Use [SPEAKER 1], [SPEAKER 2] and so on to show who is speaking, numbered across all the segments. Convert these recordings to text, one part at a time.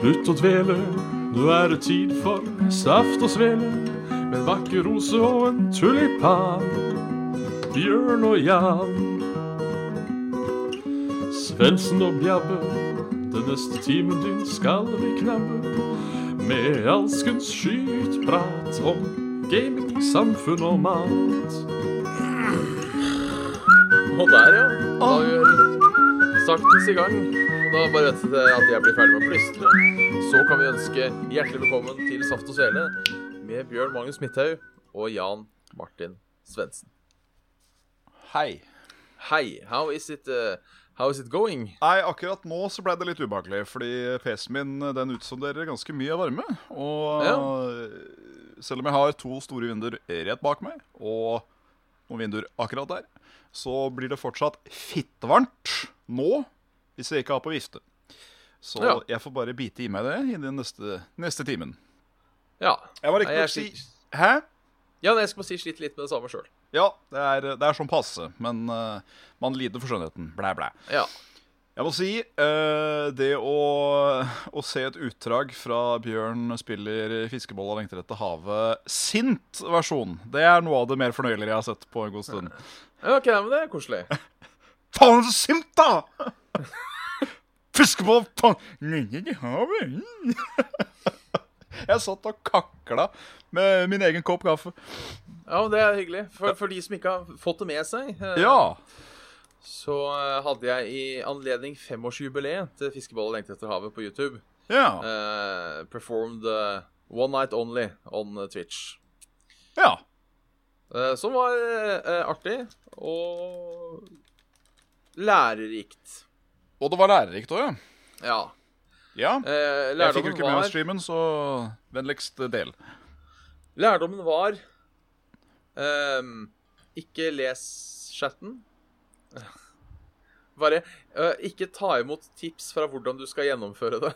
[SPEAKER 1] Slutt å dvele, nå er det tid for saft og svele. Med en vakker rose og en tulipan. Bjørn og Jan. Svendsen og Bjabbe, den neste timen din skal vi knabbe. Med alskens skytprat om gaming, samfunn og mat.
[SPEAKER 2] Og der, ja. Da er vi saktens i gang. Og da bare vent til at jeg blir ferdig med å plystre. Så kan vi ønske hjertelig velkommen til Saft og Svele med Bjørn Magnus Midthaug og Jan Martin Svendsen.
[SPEAKER 3] Hei.
[SPEAKER 2] Hei. How is it, uh, how is it going?
[SPEAKER 3] Nei, akkurat nå så ble det litt ubehagelig, fordi PC-en min eh, den utsonderer ganske mye varme. Og eh, selv om jeg har to store vinduer rett bak meg, og noen vinduer akkurat der, så blir det fortsatt fittevarmt nå hvis jeg ikke har på vifte. Så
[SPEAKER 2] Ja.
[SPEAKER 3] jeg får bare bite i meg det i den neste, neste timen.
[SPEAKER 2] Ja.
[SPEAKER 3] Jeg var
[SPEAKER 2] Nei,
[SPEAKER 3] ikke
[SPEAKER 2] jeg
[SPEAKER 3] nok si
[SPEAKER 2] sliter-
[SPEAKER 3] Hæ?
[SPEAKER 2] Ja, nei, jeg skal bare si slitt litt med det samme sjøl.
[SPEAKER 3] Ja, det er, det er sånn passe, men eh, man lider for skjønnheten. Blæ, blæ.
[SPEAKER 2] Ja.
[SPEAKER 3] Jeg må si, eh, det å, å se et utdrag fra Bjørn spiller fiskeboll og lengter etter havet sint versjon, det er noe av det mer fornøyelige jeg har sett på en god stund.
[SPEAKER 2] Ja, OK, nei, men det er koselig.
[SPEAKER 3] Faen så sint, da! Fiskeboll, faen Nynner i havet mm. Jeg satt og kakla med min egen kopp kaffe.
[SPEAKER 2] Ja, men Det er hyggelig. For, for de som ikke har fått det med seg, eh,
[SPEAKER 3] Ja.
[SPEAKER 2] så eh, hadde jeg i anledning femårsjubileet til Fiskebolle lengter etter havet på YouTube
[SPEAKER 3] Ja.
[SPEAKER 2] eh, performed eh, One Night Only on eh, Twitch.
[SPEAKER 3] ja.
[SPEAKER 2] Eh, som var eh, eh, artig og lærerikt.
[SPEAKER 3] Og det var lærerikt òg, ja.
[SPEAKER 2] Ja.
[SPEAKER 3] Ja.
[SPEAKER 2] Eh,
[SPEAKER 3] Jeg fikk jo
[SPEAKER 2] lærdommen,
[SPEAKER 3] ikke med meg
[SPEAKER 2] var,
[SPEAKER 3] streamen, så vennligst del.
[SPEAKER 2] lærdommen var ehm, Ikke les chatten. Bare eh, ikke ta imot tips fra hvordan du skal gjennomføre det.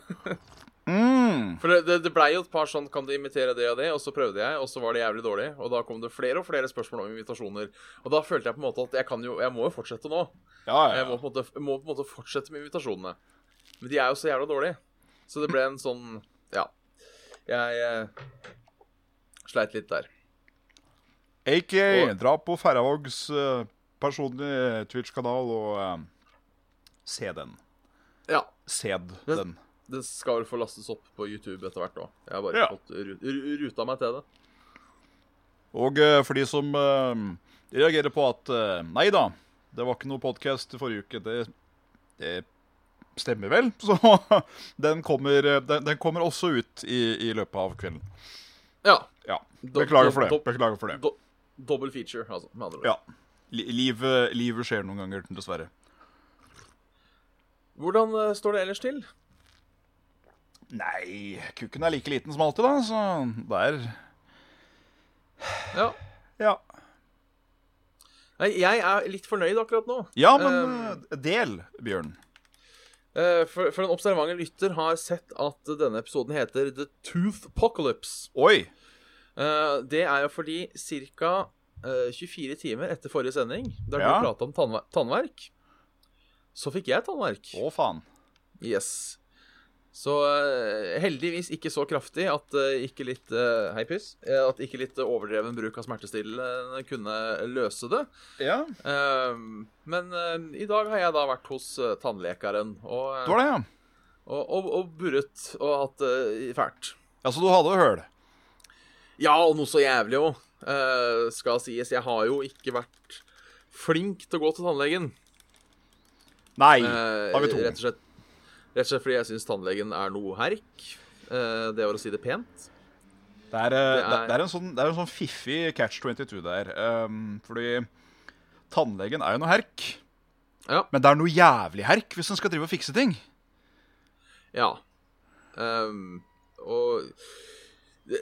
[SPEAKER 3] Mm.
[SPEAKER 2] For det, det, det blei jo et par sånn Kan du imitere det og det? Og så prøvde jeg, og så var det jævlig dårlig. Og da kom det flere og flere spørsmål om invitasjoner. Og da følte jeg på en måte at jeg kan jo Jeg må jo fortsette nå.
[SPEAKER 3] Ja, ja,
[SPEAKER 2] Jeg må
[SPEAKER 3] ja.
[SPEAKER 2] på en måte, jeg må på en måte fortsette med invitasjonene. Men de er jo så jævla dårlige. Så det ble en sånn Ja. Jeg eh, sleit litt der.
[SPEAKER 3] Aka
[SPEAKER 2] Og-
[SPEAKER 3] dra på Færøyvågs eh, personlige Twitch-kanal og eh, se den.
[SPEAKER 2] Ja.
[SPEAKER 3] Sed
[SPEAKER 2] Men-
[SPEAKER 3] den.
[SPEAKER 2] Det skal vel få lastes opp på YouTube etter hvert nå. Jeg har bare
[SPEAKER 3] Ja.
[SPEAKER 2] fått ru- ru- ruta meg til det.
[SPEAKER 3] Og eh, for de som eh, reagerer på at eh, Nei da, det var ikke noe podkast forrige uke. Det, det stemmer vel? Så den kommer, eh, den, den kommer også ut i, i løpet av kvelden.
[SPEAKER 2] Ja.
[SPEAKER 3] Ja.
[SPEAKER 2] Dob-
[SPEAKER 3] Beklager for
[SPEAKER 2] dob-
[SPEAKER 3] det.
[SPEAKER 2] dob-
[SPEAKER 3] Beklager for det.
[SPEAKER 2] do- Double feature, altså, med andre ord.
[SPEAKER 3] Ja. Li- Livet, livet skjer noen ganger, dessverre.
[SPEAKER 2] Hvordan eh, står det ellers til?
[SPEAKER 3] Nei, kukken er like liten som alltid, da, så der
[SPEAKER 2] Ja.
[SPEAKER 3] Ja,
[SPEAKER 2] Nei, jeg er litt fornøyd akkurat nå.
[SPEAKER 3] ja men
[SPEAKER 2] Um,
[SPEAKER 3] eh, del, Bjørn.
[SPEAKER 2] Eh, For, for den observante lytter har sett at denne episoden heter The Tooth Apocalypse.
[SPEAKER 3] Oi.
[SPEAKER 2] Eh, det er jo fordi ca. 24 timer etter forrige sending, der
[SPEAKER 3] Ja.
[SPEAKER 2] du prata om tannver tannverk, så fikk jeg tannverk.
[SPEAKER 3] Å, faen.
[SPEAKER 2] Yes. Så eh, heldigvis ikke så kraftig at eh, ikke litt eh, Hei, puss. eh, at ikke litt eh, overdreven bruk av smertestillende kunne løse det.
[SPEAKER 3] Ja.
[SPEAKER 2] Eh, men eh, i dag har jeg da vært hos eh, tannlekeren og, eh,
[SPEAKER 3] Det var det, ja.
[SPEAKER 2] og, og, og burret og hatt det fælt.
[SPEAKER 3] Ja, Så du hadde høl?
[SPEAKER 2] Ja, og noe så jævlig òg, skal sies. Jeg har jo ikke vært flink til å gå til tannlegen.
[SPEAKER 3] Nei.
[SPEAKER 2] Eh,
[SPEAKER 3] Mm. har vi to?
[SPEAKER 2] Rett og slett, rett og slett fordi jeg syns tannlegen er noe herk. Eh, det var å si det pent.
[SPEAKER 3] Det
[SPEAKER 2] Det
[SPEAKER 3] er, eh, det,
[SPEAKER 2] er-
[SPEAKER 3] det er en sånn, det er en sånn fiffig catch 22 der. ehm, fordi tannlegen er jo noe herk.
[SPEAKER 2] Ja.
[SPEAKER 3] Men det er noe jævlig herk hvis en skal drive og fikse ting.
[SPEAKER 2] Ja. Ehm, og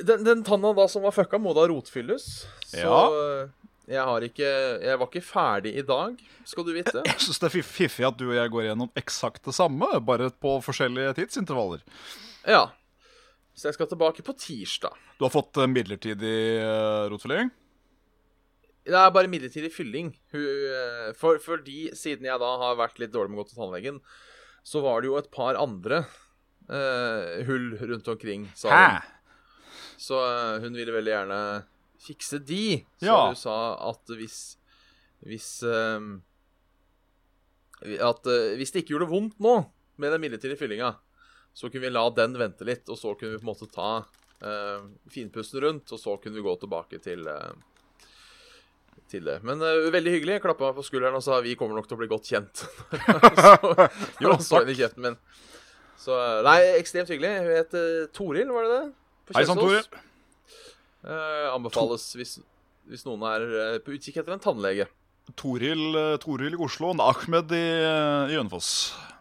[SPEAKER 2] den, den tanna da som var fucka, må da rotfylles. Så eh, jeg har ikke Jeg var ikke ferdig i dag, skal du vite.
[SPEAKER 3] Jeg syns det er fiff- fiffig at du og jeg går gjennom eksakt det samme, bare på forskjellige tidsintervaller.
[SPEAKER 2] Ja. Så jeg skal tilbake på tirsdag.
[SPEAKER 3] Du har fått eh, midlertidig eh, rotfylling?
[SPEAKER 2] Det er bare midlertidig fylling. Hun, eh, for, fordi siden jeg da har vært litt dårlig med å gå til tannlegen, så var det jo et par andre eh, hull rundt omkring salen.
[SPEAKER 3] Hæ?
[SPEAKER 2] Så eh, hun ville veldig gjerne fikse de. Så
[SPEAKER 3] Ja.
[SPEAKER 2] du sa at hvis Hvis ehm, vi- At eh, hvis det ikke gjorde vondt nå med den midlertidige fyllinga, så kunne vi la den vente litt, og så kunne vi på en måte ta eh, finpusten rundt, og så kunne vi gå tilbake til eh, til det. Men eh, veldig hyggelig. Klappa meg på skulderen og sa vi kommer nok til å bli godt kjent. så,
[SPEAKER 3] Jo,
[SPEAKER 2] han så inn i kjeften min. Så eh, Nei, ekstremt hyggelig. Hun het eh, Toril, var det det? På
[SPEAKER 3] Hei sann, Tore.
[SPEAKER 2] Kjelsås. Eh, anbefales hvis, hvis noen er eh, på utkikk etter en tannlege.
[SPEAKER 3] Toril, eh, Toril i Oslo og Ahmed i, eh, i Hønefoss.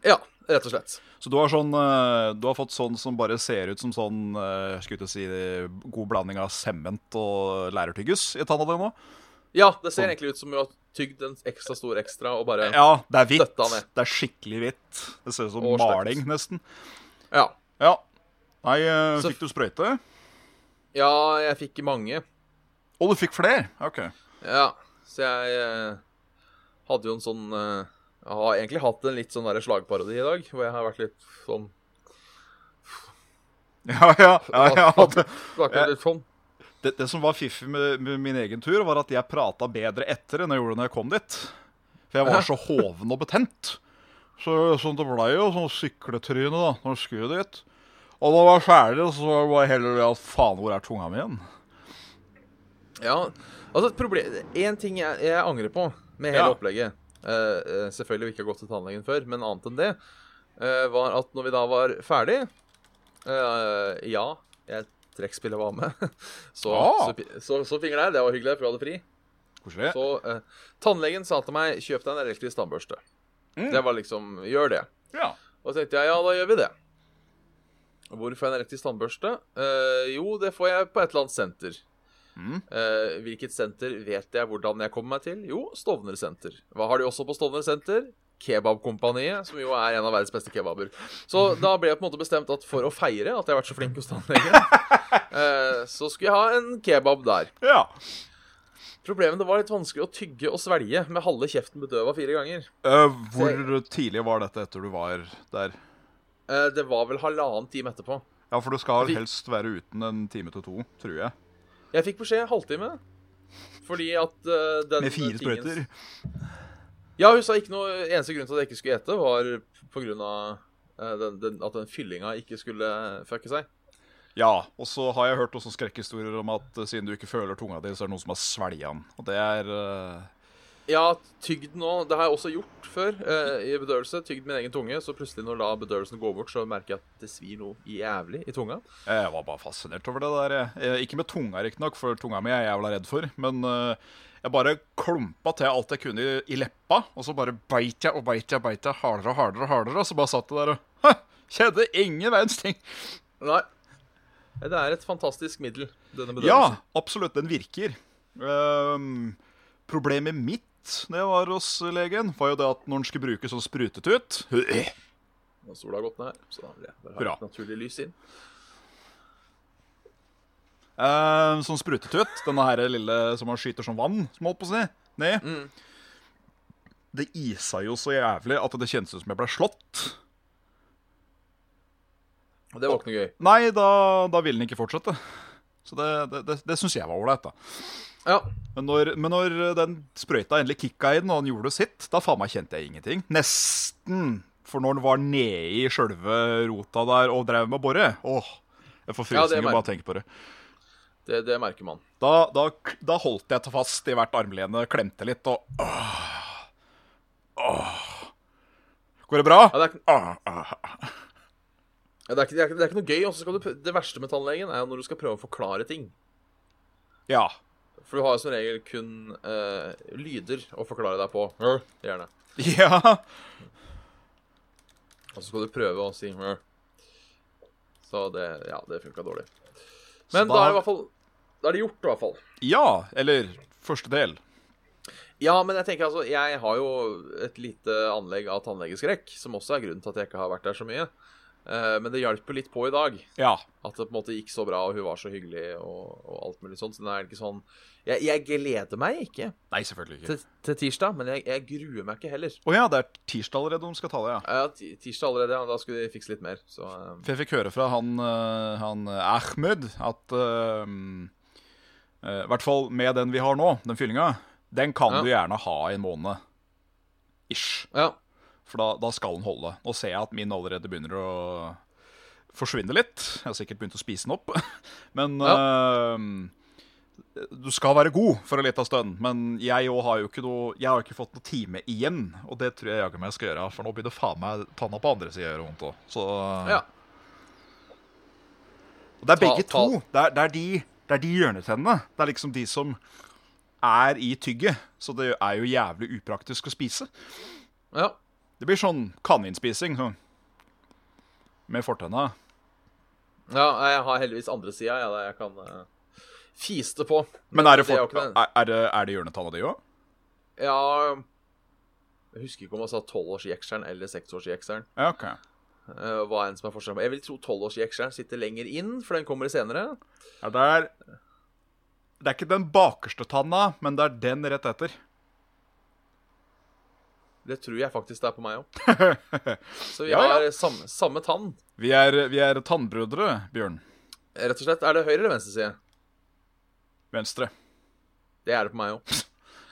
[SPEAKER 2] Ja, rett og slett.
[SPEAKER 3] Så du har, sånn, eh, du har fått sånn som bare ser ut som sånn eh, skulle jeg til å si, god blanding av sement og lærertyggis i tanna di nå?
[SPEAKER 2] Ja, det ser egentlig ut som hun har tygd en ekstra stor ekstra og bare Ja.
[SPEAKER 3] Sånn. Ja, det er hvitt.
[SPEAKER 2] Døtta ned.
[SPEAKER 3] Det er skikkelig hvitt. Det ser ut som
[SPEAKER 2] Og
[SPEAKER 3] maling,
[SPEAKER 2] slemt.
[SPEAKER 3] nesten.
[SPEAKER 2] ja.
[SPEAKER 3] Ja. Nei, eh,
[SPEAKER 2] Så-
[SPEAKER 3] fikk du sprøyte?
[SPEAKER 2] jeg fikk mange.
[SPEAKER 3] Og du fikk flere? OK.
[SPEAKER 2] Ja, så jeg eh, hadde jo en sånn eh, Jeg har egentlig hatt en litt sånn der slagparodi i dag, hvor jeg har vært litt sånn
[SPEAKER 3] Ja, ja, ja, ja. Det,
[SPEAKER 2] snakket litt sånn.
[SPEAKER 3] det, det som var fiffig med, med min egen tur, var at jeg prata bedre etter enn jeg gjorde når jeg kom dit. For jeg var så hoven og betent. Så, så det blei jo sånn sykletryne da, når jeg skulle dit. Og da var jeg ferdig, så var jeg heller ja, faen, hvor er tunga mi igjen?
[SPEAKER 2] Ja, altså problem- En ting jeg, jeg angrer på med hele
[SPEAKER 3] Ja.
[SPEAKER 2] opplegget eh, eh, Selvfølgelig vi ikke har gått til tannlegen før, men annet enn det eh, var at når vi da var ferdig eh, Ja, jeg trekkspillet var med. Så,
[SPEAKER 3] Ah.
[SPEAKER 2] så, så, så finger der. Det var hyggelig, for jeg hadde fri.
[SPEAKER 3] Koselig.
[SPEAKER 2] Så eh, tannlegen sa til meg 'kjøp deg en elektrisk tannbørste'.
[SPEAKER 3] Mm.
[SPEAKER 2] Det var liksom Gjør det.
[SPEAKER 3] Ja.
[SPEAKER 2] Og så tenkte jeg, ja, da gjør vi det. Hvor får jeg en elektrisk tannbørste? Eh, jo, det får jeg på et eller annet senter.
[SPEAKER 3] Mm.
[SPEAKER 2] Eh, hvilket senter vet jeg hvordan jeg kommer meg til? Jo, Stovner senter. Hva har de også på Stovner senter? Kebabkompaniet, som jo er en av verdens beste kebaber. Så da ble jeg på en måte bestemt at for å feire at jeg har vært så flink hos tannlegen, eh, så skulle jeg ha en kebab der.
[SPEAKER 3] ja.
[SPEAKER 2] Problemet det var litt vanskelig å tygge og svelge med halve kjeften bedøva fire ganger.
[SPEAKER 3] Eh, hvor tidlig var dette etter du var der?
[SPEAKER 2] Eh, det var vel halvannen time etterpå.
[SPEAKER 3] Ja, for du skal
[SPEAKER 2] Vi-
[SPEAKER 3] helst være uten en time til to, tror jeg.
[SPEAKER 2] Jeg fikk beskjed halvtime. Fordi at eh, den
[SPEAKER 3] Med fire
[SPEAKER 2] tingen-
[SPEAKER 3] sprøyter.
[SPEAKER 2] Ja, hun sa ikke noe Eneste grunn til at jeg ikke skulle ete, var på grunn av eh, den, den, at den fyllinga ikke skulle fucke seg.
[SPEAKER 3] Ja, og så har jeg hørt også skrekkhistorier om at eh, siden du ikke føler tunga di, så er det noen som har svelget den. Og det er eh,
[SPEAKER 2] Ja, tygd nå Det har jeg også gjort før eh, i bedøvelse. Tygd min egen tunge. Så plutselig, når da bedøvelsen går bort, så merker jeg at det svir noe jævlig i tunga.
[SPEAKER 3] Eh, Jeg var bare fascinert over det der. jeg. Eh, Ikke med tunga, riktignok, for tunga mi er jeg jævla redd for. Men eh, jeg bare klumpa til alt jeg kunne i, i leppa, og så bare beit jeg og beit jeg beit jeg hardere og hardere. og hardere, Og så bare satt det der og «Hæ, Kjente ingen verdens ting.
[SPEAKER 2] Nei. Eh, Det er et fantastisk middel, denne bedøvelsen.
[SPEAKER 3] Ja, absolutt. Den virker. Ehm, problemet mitt når jeg var hos legen, var jo det at når den skulle bruke sånn sprutetut
[SPEAKER 2] Nå har Sola har gått ned her, så da vil jeg bare ha
[SPEAKER 3] Hurra.
[SPEAKER 2] et naturlig lys inn.
[SPEAKER 3] Ehm, Sånn sprutetut, denne her lille som man skyter som vann, som holdt på å si, ned.
[SPEAKER 2] Mm.
[SPEAKER 3] Det isa jo så jævlig at det kjentes ut som jeg ble slått.
[SPEAKER 2] Og det var ikke noe gøy.
[SPEAKER 3] Nei, da, da ville den ikke fortsette. Så det, det, det, det syns jeg var ålreit, da.
[SPEAKER 2] Ja.
[SPEAKER 3] Men når, men når den sprøyta endelig kicka i den, og den gjorde sitt, da faen meg kjente jeg ingenting. Nesten. For når den var nedi sjølve rota der og drev med å bore Åh, jeg
[SPEAKER 2] Ja, det
[SPEAKER 3] får frysninger
[SPEAKER 2] merker-
[SPEAKER 3] bare av å tenke på det.
[SPEAKER 2] Det, det merker man.
[SPEAKER 3] Da, da, da holdt jeg til fast i hvert armlene, klemte litt og åh, åh. Går det bra?
[SPEAKER 2] Ja, det er, ikke-
[SPEAKER 3] Åh, åh.
[SPEAKER 2] ja, det er, ikke- det er, ikke- det er ikke noe gøy. og så skal du, prø- det verste med tannlegen er jo når du skal prøve å forklare ting.
[SPEAKER 3] Ja.
[SPEAKER 2] For du har jo som regel kun eh, lyder å forklare deg på. Gjerne.
[SPEAKER 3] Ja.
[SPEAKER 2] Og så skal du prøve å si «Mør». Så det Ja, det funka dårlig. Men
[SPEAKER 3] Så
[SPEAKER 2] da,
[SPEAKER 3] da-
[SPEAKER 2] er det i hvert fall Da er det gjort, i hvert fall.
[SPEAKER 3] Ja. Eller første del.
[SPEAKER 2] Ja, men jeg tenker altså Jeg har jo et lite anlegg av tannlegeskrekk, som også er grunnen til at jeg ikke har vært der så mye. Eh, men det hjalp jo litt på i dag
[SPEAKER 3] Ja.
[SPEAKER 2] at det på en måte gikk så bra, og hun var så hyggelig og, og alt mulig sånt. Så den er ikke sånn Jeg, jeg gleder meg ikke
[SPEAKER 3] Nei, selvfølgelig ikke.
[SPEAKER 2] til, til tirsdag, men jeg, jeg gruer meg ikke heller.
[SPEAKER 3] Å ja, det er tirsdag allerede de skal ta det, ja.
[SPEAKER 2] Ja, ti- tirsdag allerede, ja. Da skulle de fikse litt mer. Så eh,
[SPEAKER 3] For jeg fikk høre fra han, eh, han eh, Ahmed at eh, eh, I hvert fall med den vi har nå, den fyllinga, den kan
[SPEAKER 2] Ja.
[SPEAKER 3] du gjerne ha i en måned. Ish.
[SPEAKER 2] ja.
[SPEAKER 3] For da, da skal den holde. Nå ser jeg at min allerede begynner å forsvinne litt. Jeg har sikkert begynt å spise den opp. Men eh, Du skal være god for en liten stund, men jeg òg har jo ikke noe Jeg har ikke fått noe time igjen, og det tror jeg jaggu meg jeg skal gjøre. For nå begynner faen meg tanna på andre sida å gjøre vondt òg. Så
[SPEAKER 2] ja.
[SPEAKER 3] Og det er
[SPEAKER 2] Ta-
[SPEAKER 3] begge
[SPEAKER 2] ta-
[SPEAKER 3] to. Det er, det, er de, det er de hjørnetennene. Det er liksom de som er i tygget. Så det er jo jævlig upraktisk å spise.
[SPEAKER 2] ja.
[SPEAKER 3] Det blir sånn kaninspising sånn. med fortenna.
[SPEAKER 2] Ja, jeg har heldigvis andre sida ja, der jeg kan eh, fiste på.
[SPEAKER 3] Men er det,
[SPEAKER 2] det er jo
[SPEAKER 3] fort-
[SPEAKER 2] ikke det.
[SPEAKER 3] er, er det, er det hjørnetanna di òg?
[SPEAKER 2] Ja Jeg husker ikke om jeg sa tolvårsjekseren eller seksårsjekseren.
[SPEAKER 3] Ja, OK.
[SPEAKER 2] Uh, hva enn som er forskjellen på. Jeg vil tro tolvårsjekseren sitter lenger inn, for den kommer senere.
[SPEAKER 3] Ja, det er Det er ikke den bakerste tanna, men det er den rett etter.
[SPEAKER 2] Det tror jeg faktisk det er på meg òg. Så vi
[SPEAKER 3] Ja, ja.
[SPEAKER 2] har samme, samme tann.
[SPEAKER 3] Vi er, vi er tannbrødre, Bjørn.
[SPEAKER 2] Rett og slett. Er det høyre eller venstre side?
[SPEAKER 3] Venstre.
[SPEAKER 2] Det er det på meg òg.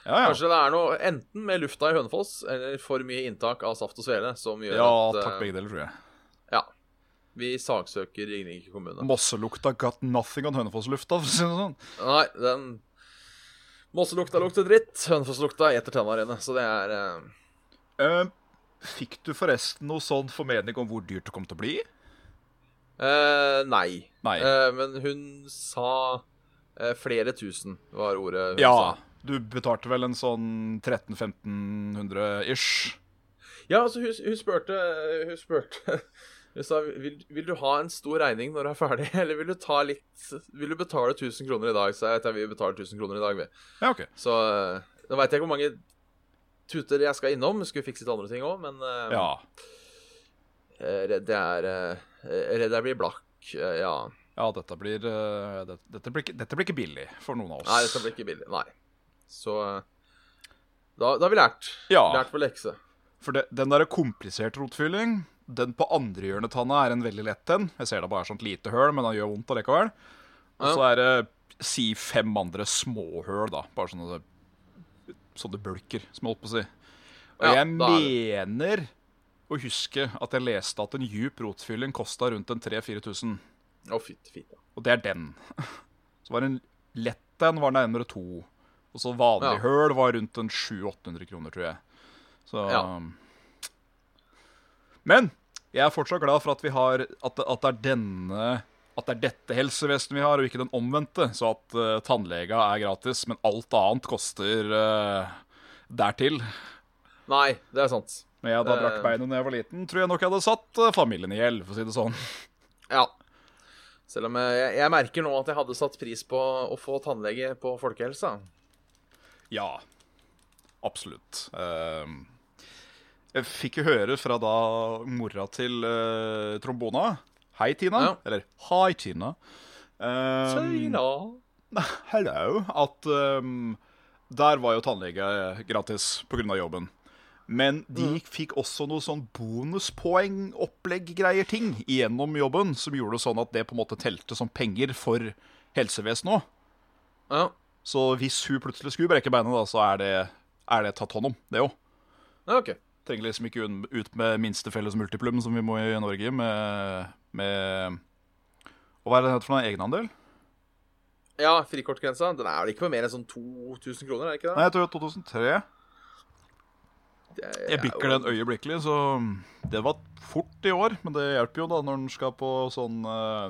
[SPEAKER 3] Ja, ja.
[SPEAKER 2] Kanskje det er noe enten med lufta i Hønefoss eller for mye inntak av saft og svele som gjør
[SPEAKER 3] Ja,
[SPEAKER 2] at eh,
[SPEAKER 3] takk, begge deler, tror jeg.
[SPEAKER 2] Ja. Vi saksøker Ringerike kommune.
[SPEAKER 3] Mosselukta got nothing on Hønefoss-lufta, for å si det sånn.
[SPEAKER 2] Nei, den Mosselukta lukter dritt. Hønefosslukta eter tenna rene. Så det er eh,
[SPEAKER 3] Eh, fikk du forresten noe sånn formening om hvor dyrt det kom til å bli?
[SPEAKER 2] eh, Nei.
[SPEAKER 3] Nei.
[SPEAKER 2] Eh, men hun sa eh, flere tusen, var ordet hun
[SPEAKER 3] ja.
[SPEAKER 2] sa.
[SPEAKER 3] Du betalte vel en sånn 1300-1500 ish?
[SPEAKER 2] Ja, altså, hun, hun spurte Hun spurte Hun sa vil, vil du ha en stor regning når du er ferdig, eller vil du ta litt Vil du betale 1000 kroner i dag? Så jeg vet jeg vil betale 1000 kroner i dag, vi.
[SPEAKER 3] Ja, OK.
[SPEAKER 2] Så eh, da veit jeg ikke hvor mange tuter jeg skal innom. Skulle fikse litt andre ting òg, men eh,
[SPEAKER 3] Ja.
[SPEAKER 2] eh, redd jeg er eh, Redd jeg blir blakk. eh, ja.
[SPEAKER 3] Ja, dette blir, eh, det, dette, blir ikke, dette blir ikke billig for noen av oss.
[SPEAKER 2] Nei, dette blir ikke billig. Nei. Så eh, da, da har vi lært.
[SPEAKER 3] Ja.
[SPEAKER 2] Lært på lekse.
[SPEAKER 3] For det, den der kompliserte rotfylling, den på andre hjørnetanna er en veldig lett en. Jeg ser det bare er sånt lite høl, men den gjør vondt allikevel. Og så er det si fem andre småhøl, da. Bare sånne, sånne bulker, som jeg holdt på å si. Og
[SPEAKER 2] Ja,
[SPEAKER 3] jeg
[SPEAKER 2] da er
[SPEAKER 3] mener å huske at jeg leste at en djup rotfylling kosta rundt en 3000-4000.
[SPEAKER 2] Å, fytti fitta.
[SPEAKER 3] Og det er den. Så var det en lett en var nærmere to. Og så vanlig
[SPEAKER 2] Ja.
[SPEAKER 3] høl var rundt en 700-800 kroner, tror jeg. Så
[SPEAKER 2] Ja.
[SPEAKER 3] Men jeg er fortsatt glad for at vi har At, at det er denne At det er dette helsevesenet vi har, og ikke den omvendte. Så at uh, tannlega er gratis, men alt annet koster eh, dertil.
[SPEAKER 2] Nei, det er sant.
[SPEAKER 3] Når jeg da brakk
[SPEAKER 2] Eh.
[SPEAKER 3] beinet da jeg var liten, tror jeg nok jeg hadde satt eh, familien i gjeld, for å si det sånn.
[SPEAKER 2] Ja. Selv om eh, jeg, jeg merker nå at jeg hadde satt pris på å få tannlege på folkehelsa.
[SPEAKER 3] Ja, absolutt. Ehm, jeg fikk jo høre fra da mora til eh, trombona Hei, Tina.
[SPEAKER 2] Ja.
[SPEAKER 3] Eller Hi, Tina. Ehm,
[SPEAKER 2] Tøyla.
[SPEAKER 3] hello. At ehm, der var jo tannlege gratis pga. jobben. Men de fikk også noe sånn bonuspoeng-opplegg-greier-ting gjennom jobben, som gjorde det sånn at det på en måte telte som penger for helsevesenet òg.
[SPEAKER 2] Ja.
[SPEAKER 3] Så hvis hun plutselig skulle brekke beinet, da, så er det, er det tatt hånd om, det òg.
[SPEAKER 2] ja, OK.
[SPEAKER 3] Trenger liksom ikke un- ut med minste felles multiplum, som vi må i Norge, med, med Og Hva er det det heter for noe? Egenandel?
[SPEAKER 2] Ja, frikortgrensa. Den er vel ikke på mer enn sånn 2000 kroner, er det ikke
[SPEAKER 3] Nei,
[SPEAKER 2] det?
[SPEAKER 3] jeg tror det er 2003.
[SPEAKER 2] det er,
[SPEAKER 3] Jeg bikker den øyeblikkelig, så det var fort i år. Men det hjelper jo da når en skal på sånn eh,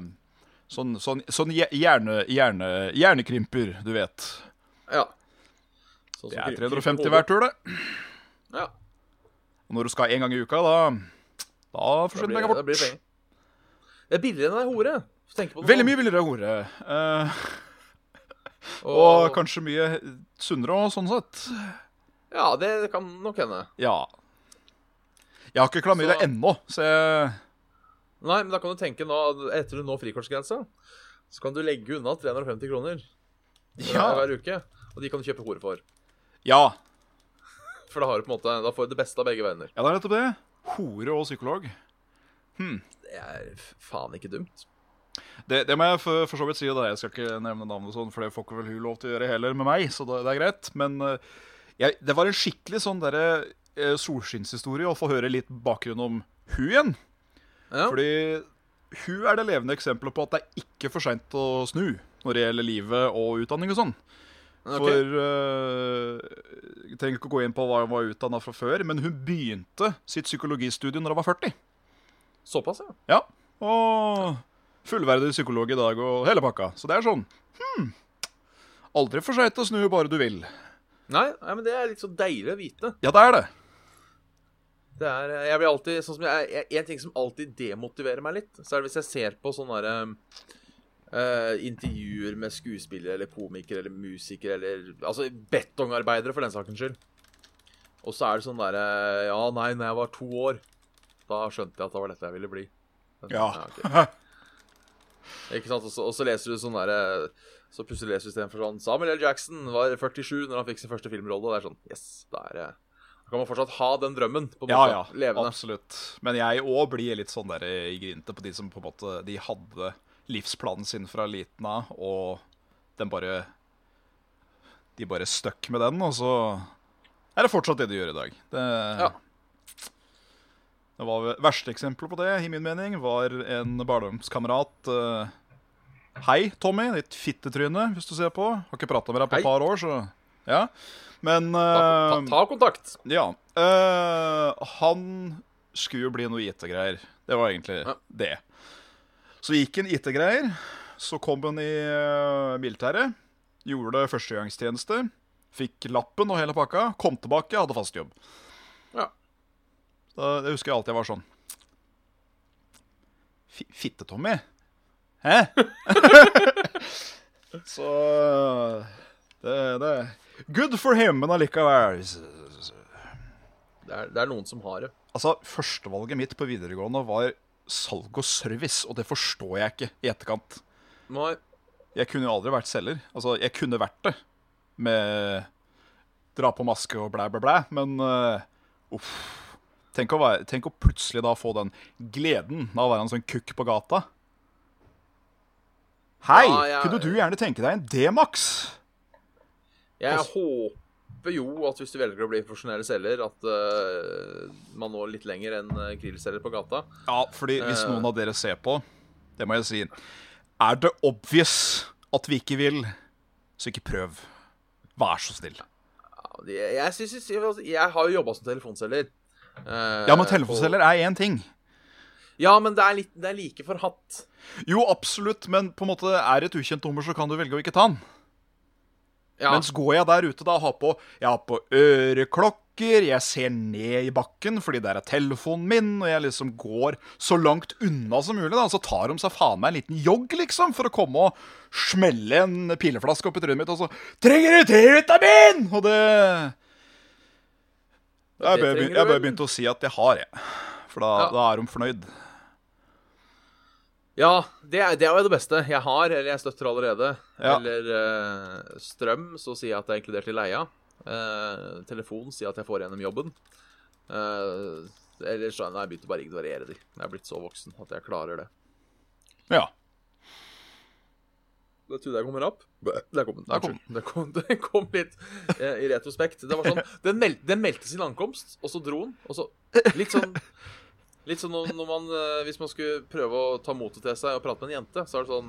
[SPEAKER 3] Sånn, sånn, sånn hje- hjerne, hjerne, hjernekrimper, du vet.
[SPEAKER 2] Ja. Sånn som
[SPEAKER 3] Det er
[SPEAKER 2] kryper-
[SPEAKER 3] 350
[SPEAKER 2] kryper
[SPEAKER 3] hver tur, det.
[SPEAKER 2] hodet. Ja,
[SPEAKER 3] Og når du skal én gang i uka, da Da
[SPEAKER 2] da
[SPEAKER 3] forsvinner
[SPEAKER 2] blir,
[SPEAKER 3] jeg
[SPEAKER 2] da
[SPEAKER 3] bort.
[SPEAKER 2] blir det penger. Det er billigere enn ei hore. Tenk på det. sånn.
[SPEAKER 3] Veldig
[SPEAKER 2] nå.
[SPEAKER 3] mye billigere hore. eh, og
[SPEAKER 2] Og,
[SPEAKER 3] kanskje mye sunnere òg, sånn sett.
[SPEAKER 2] Ja, det kan nok hende.
[SPEAKER 3] Ja. Jeg har ikke klamydia
[SPEAKER 2] Så-
[SPEAKER 3] ennå, så jeg
[SPEAKER 2] Nei, men da kan du tenke nå, at etter du når frikortsgrensa, så kan du legge unna 350 kroner eh,
[SPEAKER 3] Ja.
[SPEAKER 2] hver uke. Og de kan du kjøpe hore for.
[SPEAKER 3] Ja,
[SPEAKER 2] For da har du på en måte, da får du det beste av begge verdener.
[SPEAKER 3] ja det er nettopp det. Hore og psykolog.
[SPEAKER 2] Det er f- faen ikke dumt.
[SPEAKER 3] Det, det må jeg for, for så vidt si. Da. Jeg skal ikke nevne navn, og sånn, for det får ikke vel hun lov til å gjøre heller med meg. Så det, det er greit. Men eh, jeg, det var en skikkelig sånn derre eh, solskinnshistorie å få høre litt bakgrunn om hun igjen.
[SPEAKER 2] Ja.
[SPEAKER 3] Fordi hun er det levende eksempelet på at det er ikke for seint å snu når det gjelder livet og utdanning og sånn.
[SPEAKER 2] Ok.
[SPEAKER 3] For eh, Jeg trenger ikke å gå inn på hva hun var utdanna fra før, men hun begynte sitt psykologistudium når hun var 40.
[SPEAKER 2] Såpass, ja.
[SPEAKER 3] Ja, og fullverdig psykolog i dag og hele pakka. Så det er sånn hmm, Aldri for seint å snu bare du vil.
[SPEAKER 2] Nei, nei, men det er litt så deilig å vite.
[SPEAKER 3] Ja, det er det.
[SPEAKER 2] Det er, jeg blir alltid, sånn som jeg, jeg, En ting som alltid demotiverer meg litt, så er det hvis jeg ser på sånne der, eh, intervjuer med skuespillere eller komikere eller musikere eller Altså betongarbeidere, for den sakens skyld. Og så er det sånn derre Ja, nei, når jeg var to år, da skjønte jeg at det var dette jeg ville bli.
[SPEAKER 3] Ja.
[SPEAKER 2] ok. Ikke sant? Og så, og så leser du sånn derre Så plutselig leser du istedenfor sånn Samuel L. Jackson var 47 når han fikk sin første filmrolle. Og det er sånn Yes, da er det Da kan man fortsatt ha den drømmen. På en
[SPEAKER 3] Ja,
[SPEAKER 2] måte,
[SPEAKER 3] ja.
[SPEAKER 2] Levende.
[SPEAKER 3] Absolutt. Men jeg òg blir litt sånn der i grinte på de som på en måte De hadde livsplanen sin fra liten av, og den bare De bare stuck med den, og så er det fortsatt det de gjør i dag. Det,
[SPEAKER 2] Ja.
[SPEAKER 3] Det var vel- Verste eksempelet på det, i min mening, var en barndomskamerat. eh, Hei, Tommy, ditt fittetryne, hvis du ser på. Har ikke prata med deg på
[SPEAKER 2] Hei.
[SPEAKER 3] et par år, så Ja. Men
[SPEAKER 2] Ta, ta,
[SPEAKER 3] eh,
[SPEAKER 2] ta kontakt.
[SPEAKER 3] Ja. eh, han skulle jo bli noe IT-greier. Det var egentlig
[SPEAKER 2] Ja.
[SPEAKER 3] det. Så gikk han IT-greier. Så kom han i eh, militæret. Gjorde det førstegangstjeneste. Fikk lappen og hele pakka. Kom tilbake, hadde fast jobb.
[SPEAKER 2] Ja.
[SPEAKER 3] Da, det husker jeg alltid jeg var sånn "Fi- Fitte-Tommy? Hæ? så det, det Good for him, men allikevel
[SPEAKER 2] Det er, det er noen som har det.
[SPEAKER 3] Altså, Førstevalget mitt på videregående var salg og service, og det forstår jeg ikke i etterkant.
[SPEAKER 2] Nei,
[SPEAKER 3] Jeg kunne jo aldri vært selger. Altså, jeg kunne vært det med dra på maske og blæ, blæ, blæ, men eh, uff. Tenk å, være, tenk å plutselig da få den gleden av å være en sånn kukk på gata. Hei!
[SPEAKER 2] Ja, jeg-
[SPEAKER 3] Kunne du gjerne tenke deg en D-Max?
[SPEAKER 2] jeg
[SPEAKER 3] Pass.
[SPEAKER 2] håper jo at hvis du velger å bli profesjonell selger, at eh, man når litt lenger enn eh, grillselger på gata.
[SPEAKER 3] Ja, fordi hvis
[SPEAKER 2] Eh.
[SPEAKER 3] noen av dere ser på, det må jeg si Er det obvious at vi ikke vil, så ikke prøv. Vær så snill.
[SPEAKER 2] Ja, det- Jeg, synes, jeg, jeg har jo jobba som telefonselger. eh,
[SPEAKER 3] Ja, men
[SPEAKER 2] og-
[SPEAKER 3] telefonselger er én ting.
[SPEAKER 2] Ja, men det er, litt, det er like forhatt.
[SPEAKER 3] Jo, absolutt, men på en måte er det et ukjent nummer, så kan du velge å ikke ta den.
[SPEAKER 2] Ja,
[SPEAKER 3] Mens går jeg der ute da og har på, jeg har på øreklokker, jeg ser ned i bakken fordi der er telefonen min, og jeg liksom går så langt unna som mulig, da, så tar de seg faen meg en liten jogg, liksom, for å komme og smelle en pileflaske opp i trynet mitt, og så 'Trenger du T-vitamin?!' Og det Jeg bør,
[SPEAKER 2] trenger du
[SPEAKER 3] jeg bør
[SPEAKER 2] vel.
[SPEAKER 3] begynne å si at jeg har, jeg. For da,
[SPEAKER 2] Ja.
[SPEAKER 3] da er de fornøyd.
[SPEAKER 2] ja det, er, det er jo det beste. Jeg har, eller jeg støtter allerede.
[SPEAKER 3] Ja.
[SPEAKER 2] Eller eh, strøm, så sier jeg at det er inkludert i leia. Eh, telefon sier jeg at jeg får gjennom jobben. Uh, eller så nei, jeg begynte bare å ignorere de. Jeg er blitt så voksen at jeg klarer det.
[SPEAKER 3] Ja.
[SPEAKER 2] Det tror jeg kommer opp. Der kom den.
[SPEAKER 3] Der kom
[SPEAKER 2] Unnskyld. Det kom, det kom litt eh, i retrospekt. Det var sånn, den, mel den meldte sin ankomst, og så dro den. Og så litt sånn Litt sånn når når man, eh, Hvis man skulle prøve å ta motet til seg og prate med en jente, så er det sånn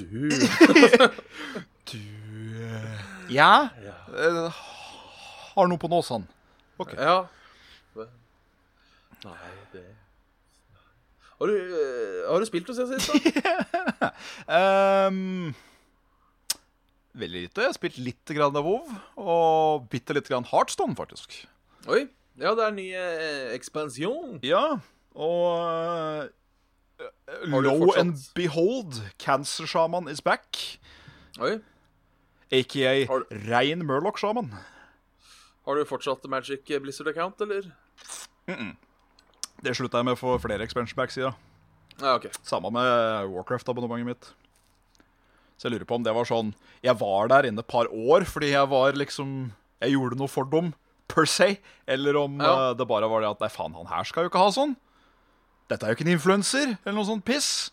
[SPEAKER 2] Du
[SPEAKER 3] Du eh, Ja? Eh, Har noe på nåsene.
[SPEAKER 2] Ja. Nei, det Har du, eh, har du spilt noe siden sist, da?
[SPEAKER 3] Ehm, veldig lite. Jeg har spilt litt grann av WoW, og bitte litt grann Heartstone, faktisk.
[SPEAKER 2] Oi. Ja, det er en ny eh, ekspansjon.
[SPEAKER 3] Ja, og eh,
[SPEAKER 2] Har du
[SPEAKER 3] Low
[SPEAKER 2] fortsatt-
[SPEAKER 3] and behold, Cancer Shaman is back.
[SPEAKER 2] Oi.
[SPEAKER 3] Aka
[SPEAKER 2] Har du-
[SPEAKER 3] rein Murloc Shaman.
[SPEAKER 2] Har du fortsatt Magic Blizzard account, eller?
[SPEAKER 3] Det slutta jeg med for flere expansion packs i. da.
[SPEAKER 2] Ja, ok.
[SPEAKER 3] Samme med Warcraft-abonnementet mitt. Så jeg lurer på om det var sånn Jeg var der inne et par år fordi jeg var liksom Jeg gjorde noe for dem, per se. Eller om
[SPEAKER 2] Ja.
[SPEAKER 3] eh, det bare var det at Nei, faen, han her skal jo ikke ha sånn. Dette er jo ikke en influenser, eller noe sånt piss.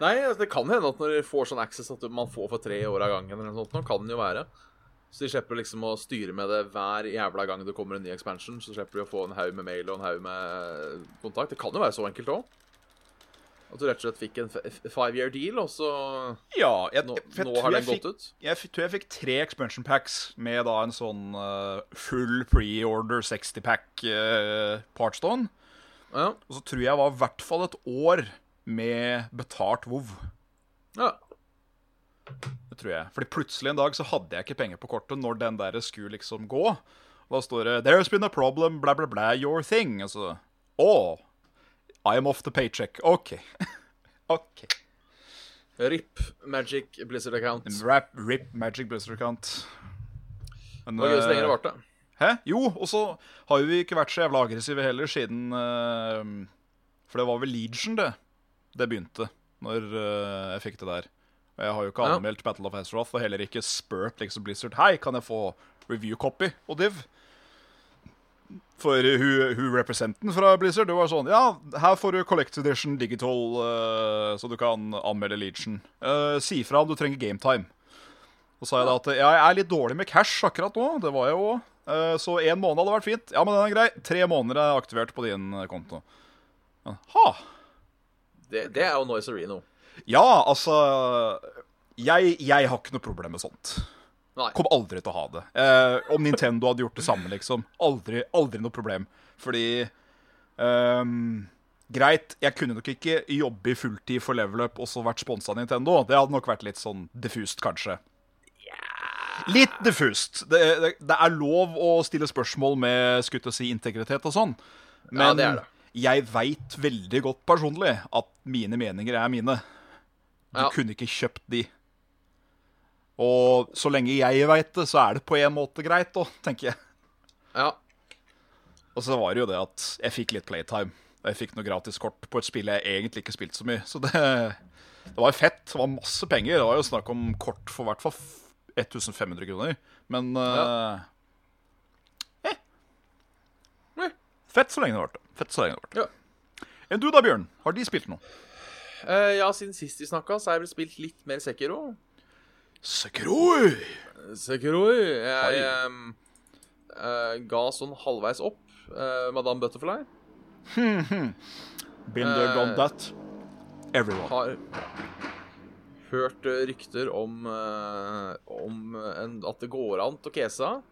[SPEAKER 2] Nei, altså, det kan hende at når de får sånn access at man får for tre år av gangen, eller noe sånt, nå kan det jo være. Så de slipper liksom å styre med det hver jævla gang det kommer en ny expansion. Så slipper de å få en haug med mail og en haug med kontakt. Det kan jo være så enkelt òg. At du rett og slett fikk en f- f- five year deal, og så
[SPEAKER 3] Ja, jeg,
[SPEAKER 2] Nå,
[SPEAKER 3] jeg, jeg,
[SPEAKER 2] nå
[SPEAKER 3] tror
[SPEAKER 2] har
[SPEAKER 3] jeg
[SPEAKER 2] den
[SPEAKER 3] fikk-
[SPEAKER 2] gått ut.
[SPEAKER 3] Jeg f- tror jeg fikk tre expansion packs med da en sånn eh, full pre-order 60-pack uh, Partstone.
[SPEAKER 2] Ja.
[SPEAKER 3] Og så tror jeg var i hvert fall et år med betalt WoW.
[SPEAKER 2] ja.
[SPEAKER 3] Det tror jeg. Fordi plutselig en dag så hadde jeg ikke penger på kortet når den der skulle liksom gå. Og da står det 'There's been a problem, bla, bla, bla, your thing'. Og så Å! I'm off the paycheck. OK. OK.
[SPEAKER 2] RIP Magic Blizzard account. Det
[SPEAKER 3] Rap, rip, magic blizzard account. Men,
[SPEAKER 2] var gøy så
[SPEAKER 3] eh,
[SPEAKER 2] lenge det varte.
[SPEAKER 3] Hæ? Jo, og så har jo vi ikke vært så jævla aggressive heller siden eh, For det var vel Legion, det. Det begynte når eh, jeg fikk det der. Og jeg har jo ikke
[SPEAKER 2] Ja.
[SPEAKER 3] anmeldt Battle of Azeroth og heller ikke spurt liksom Blizzard Hei, kan jeg få review copy og div? For hun, hun representen fra Blizzard det var sånn Ja, her får du Collect Edition Digital, eh, så du kan anmelde Legion. Eh, si fra om du trenger gametime. Så sa jeg da at ja, jeg er litt dårlig med cash akkurat nå. Det var jeg jo òg. Så én måned hadde vært fint. Ja, men den er grei. Tre måneder er aktivert på din eh, konto. Ja, Ha!
[SPEAKER 2] Det, det er jo Noise Areno.
[SPEAKER 3] Ja, altså jeg, jeg har ikke noe problem med sånt.
[SPEAKER 2] Nei.
[SPEAKER 3] Kom aldri til å ha det. Eh, om Nintendo hadde gjort det samme, liksom. Aldri, aldri noe problem. Fordi ehm, Greit, jeg kunne nok ikke jobbe i fulltid for level up og så vært sponsa av Nintendo. Det hadde nok vært litt sånn diffust, kanskje. Litt diffust. Det, det, det er lov å stille spørsmål med skutt å si integritet og sånn, men
[SPEAKER 2] Ja, det er det.
[SPEAKER 3] jeg veit veldig godt personlig at mine meninger er mine. Du
[SPEAKER 2] Ja.
[SPEAKER 3] kunne ikke kjøpt de. Og så lenge jeg veit det, så er det på en måte greit òg, tenker jeg.
[SPEAKER 2] Ja.
[SPEAKER 3] Og så var det jo det at jeg fikk litt playtime. Og jeg fikk noe gratis kort på et spill jeg egentlig ikke spilte så mye. Så det, det var fett. Det var masse penger. Det var jo snakk om kort for i hvert fall f- 1500 kroner. Men eh,
[SPEAKER 2] Eh.
[SPEAKER 3] Fett så lenge det varte. Fett så lenge det varte.
[SPEAKER 2] ja.
[SPEAKER 3] Enn du da, Bjørn? Har de spilt noe?
[SPEAKER 2] Eh, ja, siden sist vi snakka, så har jeg vel spilt litt mer Sekiro.
[SPEAKER 3] Sekroi!
[SPEAKER 2] Sekiro. Jeg ehm, eh, ga sånn halvveis opp eh, Madame Butterfly.
[SPEAKER 3] Been there, done that. Everyone.
[SPEAKER 2] Har hørt eh, rykter om, eh, om en, at det går an til å case av.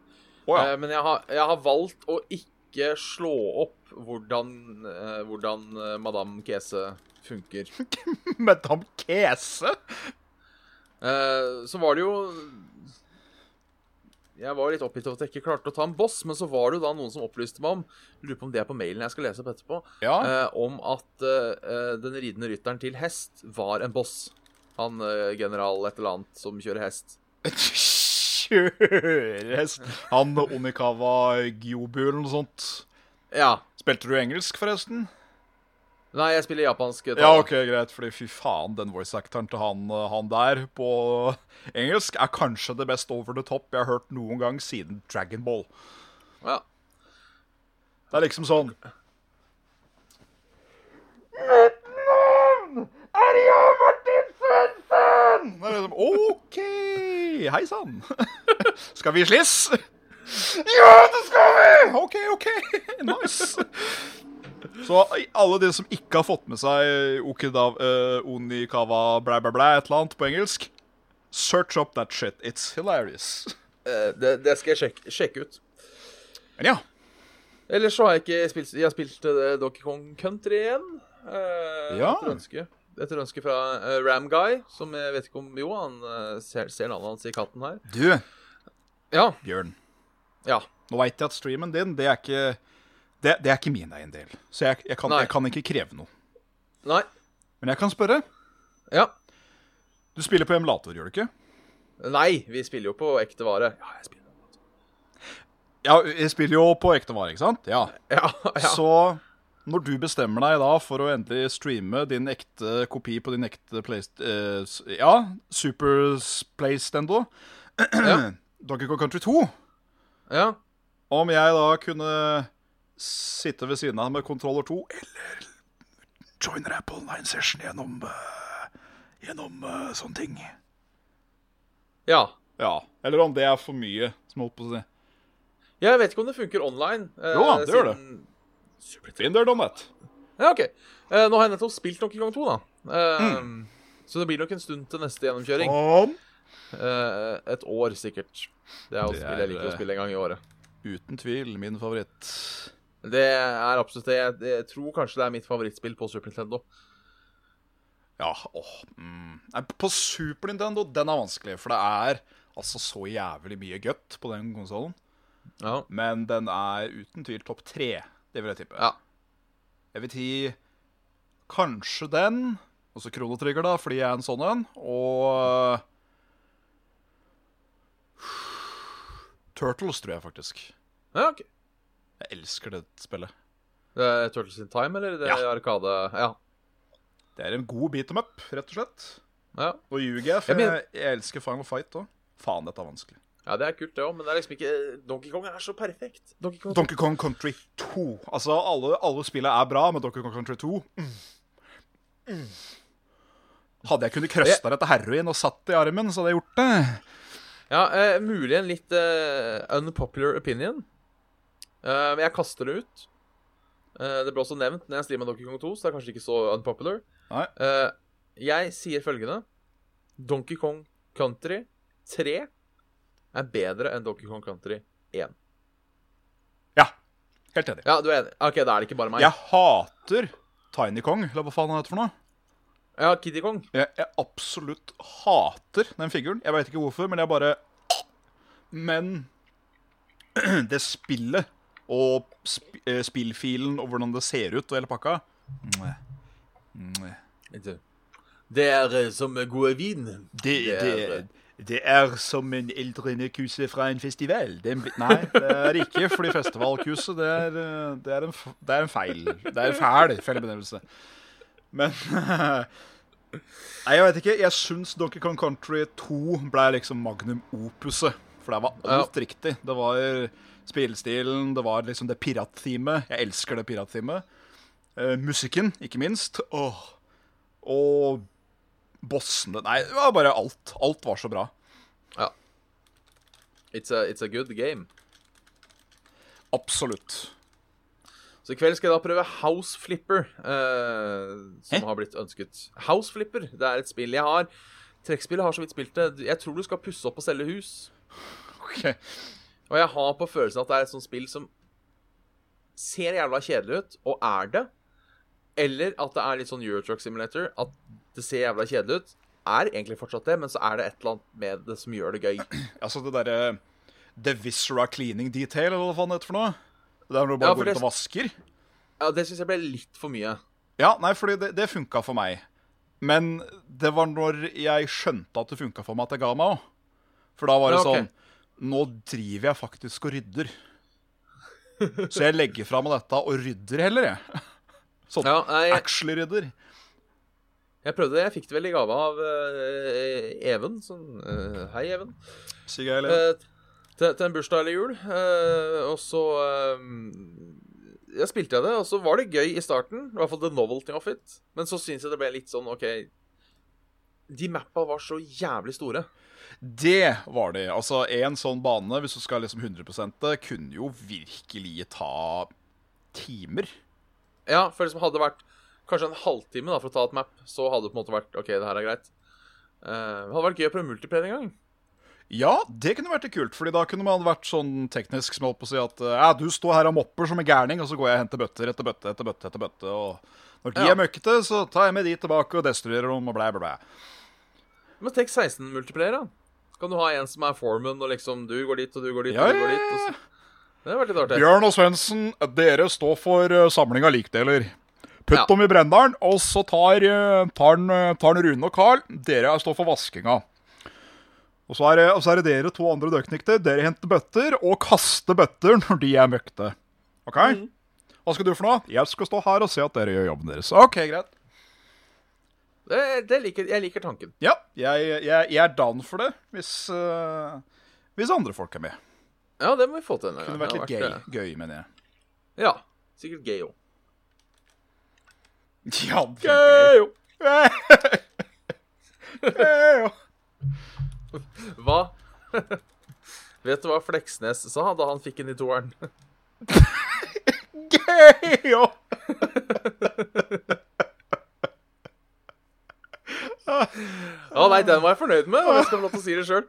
[SPEAKER 3] Å
[SPEAKER 2] Eh,
[SPEAKER 3] ja.
[SPEAKER 2] men jeg har, jeg har valgt å ikke slå opp hvordan, eh, hvordan eh, Madame Kese funker.
[SPEAKER 3] Madame Eh, Kese?
[SPEAKER 2] Eh, så var det jo Jeg var litt oppgitt over at jeg ikke klarte å ta en boss, men så var det jo da noen som opplyste meg om Lurer på om det er på mailen jeg skal lese opp etterpå.
[SPEAKER 3] Ja.
[SPEAKER 2] eh, om at eh, eh, den ridende rytteren til hest var en boss. Han eh, general et eller annet som kjører hest.
[SPEAKER 3] Kjørehest. Han Omikawa Gyobu eller noe sånt.
[SPEAKER 2] Ja.
[SPEAKER 3] Spilte du engelsk, forresten?
[SPEAKER 2] Nei, jeg spiller japansk. eh,
[SPEAKER 3] Ja,
[SPEAKER 2] tale.
[SPEAKER 3] ok, greit, fordi fy faen, den voice-actoren til han, eh, han der på engelsk er kanskje det best over the top jeg har hørt noen gang siden Dragon Ball.
[SPEAKER 2] Ja.
[SPEAKER 3] Det er liksom sånn Mitt navn er Jan Martin Svendsen! OK. Hei sann. Skal vi sliss? Ja, det skal vi! OK, OK. Nice. Så alle de som ikke har fått med seg Okidav, eh, Onikawa blæ, blæ, blæ, et eller annet på engelsk, search up that shit. It's hilarious.
[SPEAKER 2] Eh, det, det skal jeg sjekke, sjekke ut.
[SPEAKER 3] Men ja.
[SPEAKER 2] Ellers så har jeg ikke spilt Jeg har spilt eh, Donkey Kong Country igjen. eh,
[SPEAKER 3] Ja.
[SPEAKER 2] Etter ønske. Etter ønske fra eh, Ram Guy, som jeg vet ikke om Jo, han eh, ser, ser navnet hans i katten her.
[SPEAKER 3] Du,
[SPEAKER 2] Ja.
[SPEAKER 3] Bjørn.
[SPEAKER 2] ja.
[SPEAKER 3] Nå veit jeg at streamen din, det er ikke Det, det er ikke min eiendel. Så jeg, jeg, kan,
[SPEAKER 2] Nei.
[SPEAKER 3] jeg kan ikke kreve noe.
[SPEAKER 2] Nei.
[SPEAKER 3] Men jeg kan spørre.
[SPEAKER 2] Ja.
[SPEAKER 3] Du spiller på emulator, gjør du ikke?
[SPEAKER 2] Nei, vi spiller jo på ekte vare. Ja, jeg spiller
[SPEAKER 3] Ja, jeg spiller jo på ekte vare, ikke sant? Ja.
[SPEAKER 2] Ja, ja.
[SPEAKER 3] Så Når du bestemmer deg da for å endelig streame din ekte kopi på din ekte play, eh, s- Ja, Super Playstendo
[SPEAKER 2] Ja.
[SPEAKER 3] Donkey Kong Country 2
[SPEAKER 2] Ja.
[SPEAKER 3] Om jeg da kunne sitte ved siden av med Controller 2 Eller joiner jeg på online session gjennom eh, Gjennom eh, sånne ting
[SPEAKER 2] ja.
[SPEAKER 3] Ja, eller om det er for mye Som jeg holdt på å si
[SPEAKER 2] Jeg vet ikke om det funker online. eh,
[SPEAKER 3] Jo da, det gjør det.
[SPEAKER 2] siden-
[SPEAKER 3] Finder done that
[SPEAKER 2] Ja, OK. Eh, nå har jeg nettopp spilt Donkey Kong 2, da. Eh,
[SPEAKER 3] Mm.
[SPEAKER 2] Så det blir nok en stund til neste gjennomkjøring.
[SPEAKER 3] Om
[SPEAKER 2] Eh, et år, sikkert. Det er jo
[SPEAKER 3] Det
[SPEAKER 2] spill jeg
[SPEAKER 3] er,
[SPEAKER 2] liker å
[SPEAKER 3] eh,
[SPEAKER 2] spille en gang i året.
[SPEAKER 3] Uten tvil, min favoritt
[SPEAKER 2] Det er absolutt det. Jeg, jeg tror kanskje det er mitt favorittspill på Super Nintendo.
[SPEAKER 3] Ja, åh mm. Nei, På Super Nintendo, den er vanskelig For det er altså så jævlig mye gøtt På den konsolen
[SPEAKER 2] Ja.
[SPEAKER 3] Men den er uten tvil topp tre Det vil jeg tippe
[SPEAKER 2] Ja.
[SPEAKER 3] Jeg vil ti Kanskje den Også kronotrigger da, fordi jeg er en sånn en Og Turtles tror jeg faktisk
[SPEAKER 2] ja ok.
[SPEAKER 3] Jeg elsker det spillet
[SPEAKER 2] Det er Turtles in Time, eller? Det er
[SPEAKER 3] Ja.
[SPEAKER 2] Arkade Ja.
[SPEAKER 3] Det er en god beat em up, rett og slett
[SPEAKER 2] ja.
[SPEAKER 3] Nå ljuger jeg, for
[SPEAKER 2] Jeg
[SPEAKER 3] jeg,
[SPEAKER 2] mener-
[SPEAKER 3] jeg elsker Final Fight òg. Faen, dette er vanskelig.
[SPEAKER 2] Ja, det er kult, det òg, men det er liksom ikke Donkey Kong er så perfekt. Donkey Kong
[SPEAKER 3] Donkey Kong Country 2. Altså, alle, alle spillene er bra, men Donkey Kong Country 2 mm. Mm. Hadde jeg kunnet krøsta dette heroin og satt det i armen, så hadde jeg gjort det.
[SPEAKER 2] Ja, eh, mulig en litt eh, unpopular opinion. Eh, men jeg kaster det ut. Eh, det ble også nevnt når jeg streama Donkey Kong 2, så det er kanskje ikke så unpopular.
[SPEAKER 3] Nei.
[SPEAKER 2] Eh, jeg sier følgende Donkey Kong Country 3 er bedre enn Donkey Kong Country 1.
[SPEAKER 3] Ja, helt enig.
[SPEAKER 2] Ja, du er enig? OK, da er det ikke bare meg.
[SPEAKER 3] Jeg hater Tiny Kong, eller hva faen han heter for noe.
[SPEAKER 2] ja Kiddy Kong.
[SPEAKER 3] Jeg, jeg absolutt hater den figuren. Jeg veit ikke hvorfor, men jeg bare Men det spillet og sp eh, spillfilen og hvordan det ser ut og hele pakka mwah, mwah.
[SPEAKER 2] Det er eh, som gode vin.
[SPEAKER 3] det, det, det er som en eldrende kuse fra en festival. Den bli- nei, det er ikke fordi festivalkuse det er, eh, det, er en, f- det er en feil. Det er en fæl feilbenevnelse. Men Nei, jeg vet ikke. Jeg syns Donkey Kong Country 2 ble liksom magnum opuset. For der var alt riktig. Det var spillestilen, det var liksom det piratteamet. Jeg elsker det piratteamet. Eh, musikken, ikke minst. Åh. Og bossene Nei, det var bare alt. Alt var så bra.
[SPEAKER 2] Ja. It's a, it's a good game.
[SPEAKER 3] Absolutt.
[SPEAKER 2] Så i kveld skal jeg da prøve House Flipper, eh, som
[SPEAKER 3] Hæ?
[SPEAKER 2] har blitt ønsket. House Flipper, det er et spill jeg har. Trekkspillet har så vidt spilt det. Jeg tror du skal pusse opp og selge hus.
[SPEAKER 3] Ok.
[SPEAKER 2] Og jeg har på følelsen at det er et sånt spill som ser jævla kjedelig ut, og er det. Eller at det er litt sånn Eurotruck Simulator, at det ser jævla kjedelig ut. Er egentlig fortsatt det, men så er det et eller annet med det som gjør det gøy.
[SPEAKER 3] Altså det derre The Viscera Cleaning Detail, eller hva faen det heter for noe. Det er når du
[SPEAKER 2] Ja,
[SPEAKER 3] bare
[SPEAKER 2] for
[SPEAKER 3] går
[SPEAKER 2] det-
[SPEAKER 3] ut og vasker.
[SPEAKER 2] Ja, Det syns jeg ble litt for mye.
[SPEAKER 3] Ja, nei, fordi det, det funka for meg. Men det var når jeg skjønte at det funka for meg, at det ga meg òg. For da var det
[SPEAKER 2] Ja, ok.
[SPEAKER 3] sånn Nå driver jeg faktisk og rydder. Så jeg legger fra meg dette og rydder heller, jeg. Sånn
[SPEAKER 2] Ja, nei,
[SPEAKER 3] actually rydder.
[SPEAKER 2] Jeg prøvde det. Jeg fikk det vel i gave av eh, Even. Sånn, eh, hei, Even.
[SPEAKER 3] Sier jeg eller?
[SPEAKER 2] Eh, til, til en bursdag eller jul. Eh, og så eh, Jeg spilte jeg det, og så var det gøy i starten. I hvert fall the novelty of it. Men så syns jeg det ble litt sånn OK De mappa var så jævlig store.
[SPEAKER 3] Det var det. Altså, en sånn bane, hvis du skal liksom 100 det, kunne jo virkelig ta timer.
[SPEAKER 2] Ja, for liksom hadde det vært kanskje en halvtime da for å ta et map, så hadde det på en måte vært OK, det her er greit. Eh, det hadde vært gøy å prøve multiplayer en gang.
[SPEAKER 3] Ja, det kunne vært litt kult, Fordi da kunne man vært sånn teknisk som jeg holdt på å si at eh, du står her og mopper som en gærning, og så går jeg og henter bøtter etter bøtte etter bøtte etter bøtte, og når de
[SPEAKER 2] Ja.
[SPEAKER 3] er møkkete, så tar jeg med de tilbake og destruerer dem, og blæ, blæ, blæ.
[SPEAKER 2] Men tenk 16-multiplayer, da. Så kan du ha en som er foreman, og liksom du går dit, og du går dit,
[SPEAKER 3] Ja,
[SPEAKER 2] og du går
[SPEAKER 3] ja,
[SPEAKER 2] dit. Og
[SPEAKER 3] ja.
[SPEAKER 2] så. Det hadde vært litt artig.
[SPEAKER 3] Bjørn og Svendsen, dere står for eh, samling av likdeler. Putt
[SPEAKER 2] Ja.
[SPEAKER 3] dem i brenneren, og så tar, eh, tar, den, eh, tar den Rune og Carl. Dere står for vaskinga. Og så, er, det- og så er det dere to andre Mm. døknekter. Dere henter bøtter og kaster bøtter når de er møkte. OK? Hva skal du for noe? Jeg skal stå her og se at dere gjør jobben deres. OK, greit.
[SPEAKER 2] Det, det liker, jeg liker tanken.
[SPEAKER 3] Ja, jeg, jeg, jeg er down for det hvis, eh, hvis andre folk er med.
[SPEAKER 2] Ja, det må vi få til en
[SPEAKER 3] Det
[SPEAKER 2] gang.
[SPEAKER 3] kunne vært
[SPEAKER 2] har
[SPEAKER 3] litt gøy, gøy, mener jeg.
[SPEAKER 2] eh, Ja. Sikkert gay òg.
[SPEAKER 3] Ja, gøy! Gøy!
[SPEAKER 2] Hva? Vet du hva Fleksnes sa da han fikk den i toeren?
[SPEAKER 3] Gøy!
[SPEAKER 2] Å nei, den var jeg fornøyd med, og jeg skal få lov til å si det sjøl.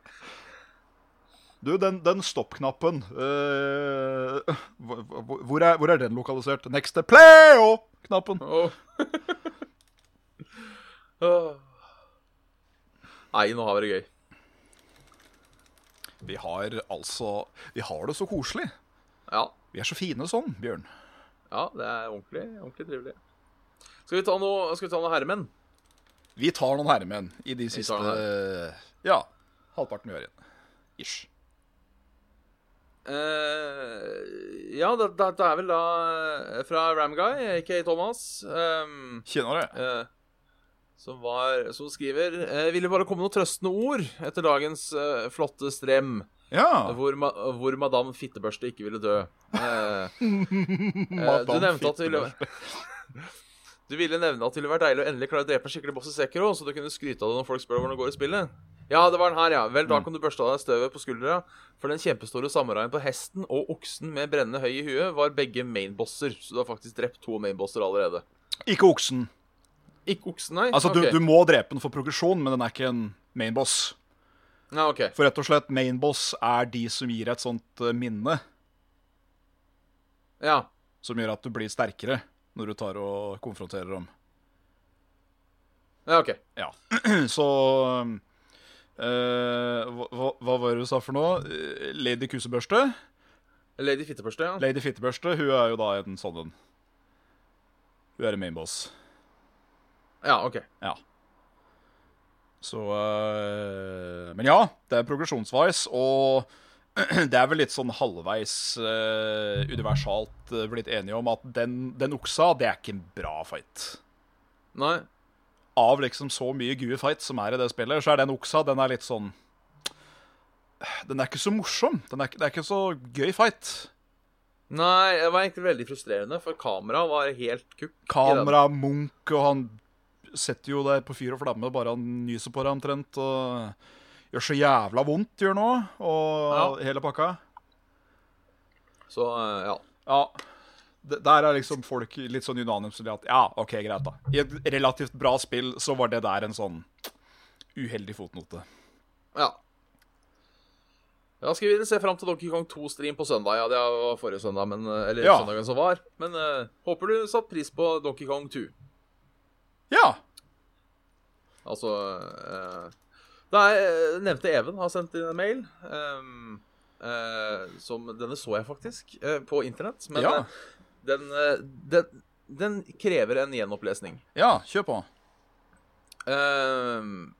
[SPEAKER 3] Du, den, den stoppknappen eh, hvor, hvor- hvor, er, hvor er den lokalisert? Next to playo-knappen.
[SPEAKER 2] Åh. Åh. Nei, nå har vi det gøy.
[SPEAKER 3] Vi har altså Vi har det så koselig.
[SPEAKER 2] Ja,
[SPEAKER 3] Vi er så fine sånn, Bjørn.
[SPEAKER 2] ja det er ordentlig, ordentlig trivelig. Skal vi ta noe, skal vi ta noe herremenn?
[SPEAKER 3] Vi tar noen herremenn i de siste
[SPEAKER 2] tar noen
[SPEAKER 3] Ja, halvparten vi har igjen. Ish.
[SPEAKER 2] Eh, ja, det, det, det er vel da eh, fra Ramguy, aka Thomas, ehm,
[SPEAKER 3] Kjenner det.
[SPEAKER 2] eh, som, var, som skriver eh, Ville bare komme noen trøstende ord etter dagens eh, flotte strem.
[SPEAKER 3] Ja.
[SPEAKER 2] Hvor, ma hvor madame Fittebørste ikke ville dø. Eh, eh, du
[SPEAKER 3] Madame
[SPEAKER 2] nevnte at du ville Du ville nevne at det ville vært deilig å endelig klare å drepe en skikkelig boss i Sekiro, så du kunne skryte av det når folk spør hvordan det går i spillet. Ja, det var den her, ja. Vel,
[SPEAKER 3] Mm.
[SPEAKER 2] da kan du børste av deg støvet på skuldra, for den kjempestore samuraien på hesten og oksen med brennende høy i huet var begge mainbosser, så du har faktisk drept to mainbosser allerede.
[SPEAKER 3] Ikke oksen.
[SPEAKER 2] Ikke oksen, nei?
[SPEAKER 3] Altså,
[SPEAKER 2] Ok.
[SPEAKER 3] du, du må drepe den for progresjon, men den er ikke en mainboss.
[SPEAKER 2] Ja, ok.
[SPEAKER 3] For rett og slett, mainboss er de som gir et sånt eh, minne
[SPEAKER 2] Ja.
[SPEAKER 3] som gjør at du blir sterkere når du tar og konfronterer dem.
[SPEAKER 2] ja, ok.
[SPEAKER 3] Ja. Så eh, hva, hva- hva var det du sa for noe? Eh, Lady Kusebørste?
[SPEAKER 2] Lady Fittebørste, ja.
[SPEAKER 3] Lady Fittebørste, hun er jo da en sånn en. Hun er en mainboss.
[SPEAKER 2] Ja, ok.
[SPEAKER 3] Ja. Så eh, Men ja, det er progresjonsveis, og det er vel litt sånn halvveis eh, universalt eh, blitt enige om at den, den oksa, det er ikke en bra fight.
[SPEAKER 2] Nei.
[SPEAKER 3] Av liksom så mye gode fights som er i det spillet, så er den oksa, den er litt sånn Den er ikke så morsom. Den er, ikke- det er ikke så gøy fight.
[SPEAKER 2] Nei, det var egentlig veldig frustrerende, for kameraet var helt kukk. i den.
[SPEAKER 3] Kamera, Munch, og han setter jo der på fyr og flamme, bare han nyser på deg omtrent, og gjør så jævla vondt, gjør nå, og hele pakka.
[SPEAKER 2] Så, eh, ja.
[SPEAKER 3] Ja, D- der er liksom folk litt sånn unanimt som de at, ja, ok, greit da. I et relativt bra spill så var det der en sånn uheldig fotnote.
[SPEAKER 2] Ja. Ja, skal vi se fram til Donkey Kong 2-stream på søndag? Ja, det var forrige søndag, men, eh, eller
[SPEAKER 3] Ja.
[SPEAKER 2] søndagen som var. Men eh, håper du satte pris på Donkey Kong 2.
[SPEAKER 3] Ja,
[SPEAKER 2] Altså eh, Det er eh, nevnte Even har sendt inn en mail. ehm, eh, som Denne så jeg faktisk eh, på internett. Men
[SPEAKER 3] Ja.
[SPEAKER 2] eh, den, eh, den, den krever en gjenopplesning.
[SPEAKER 3] ja, kjør på.
[SPEAKER 2] Ehm,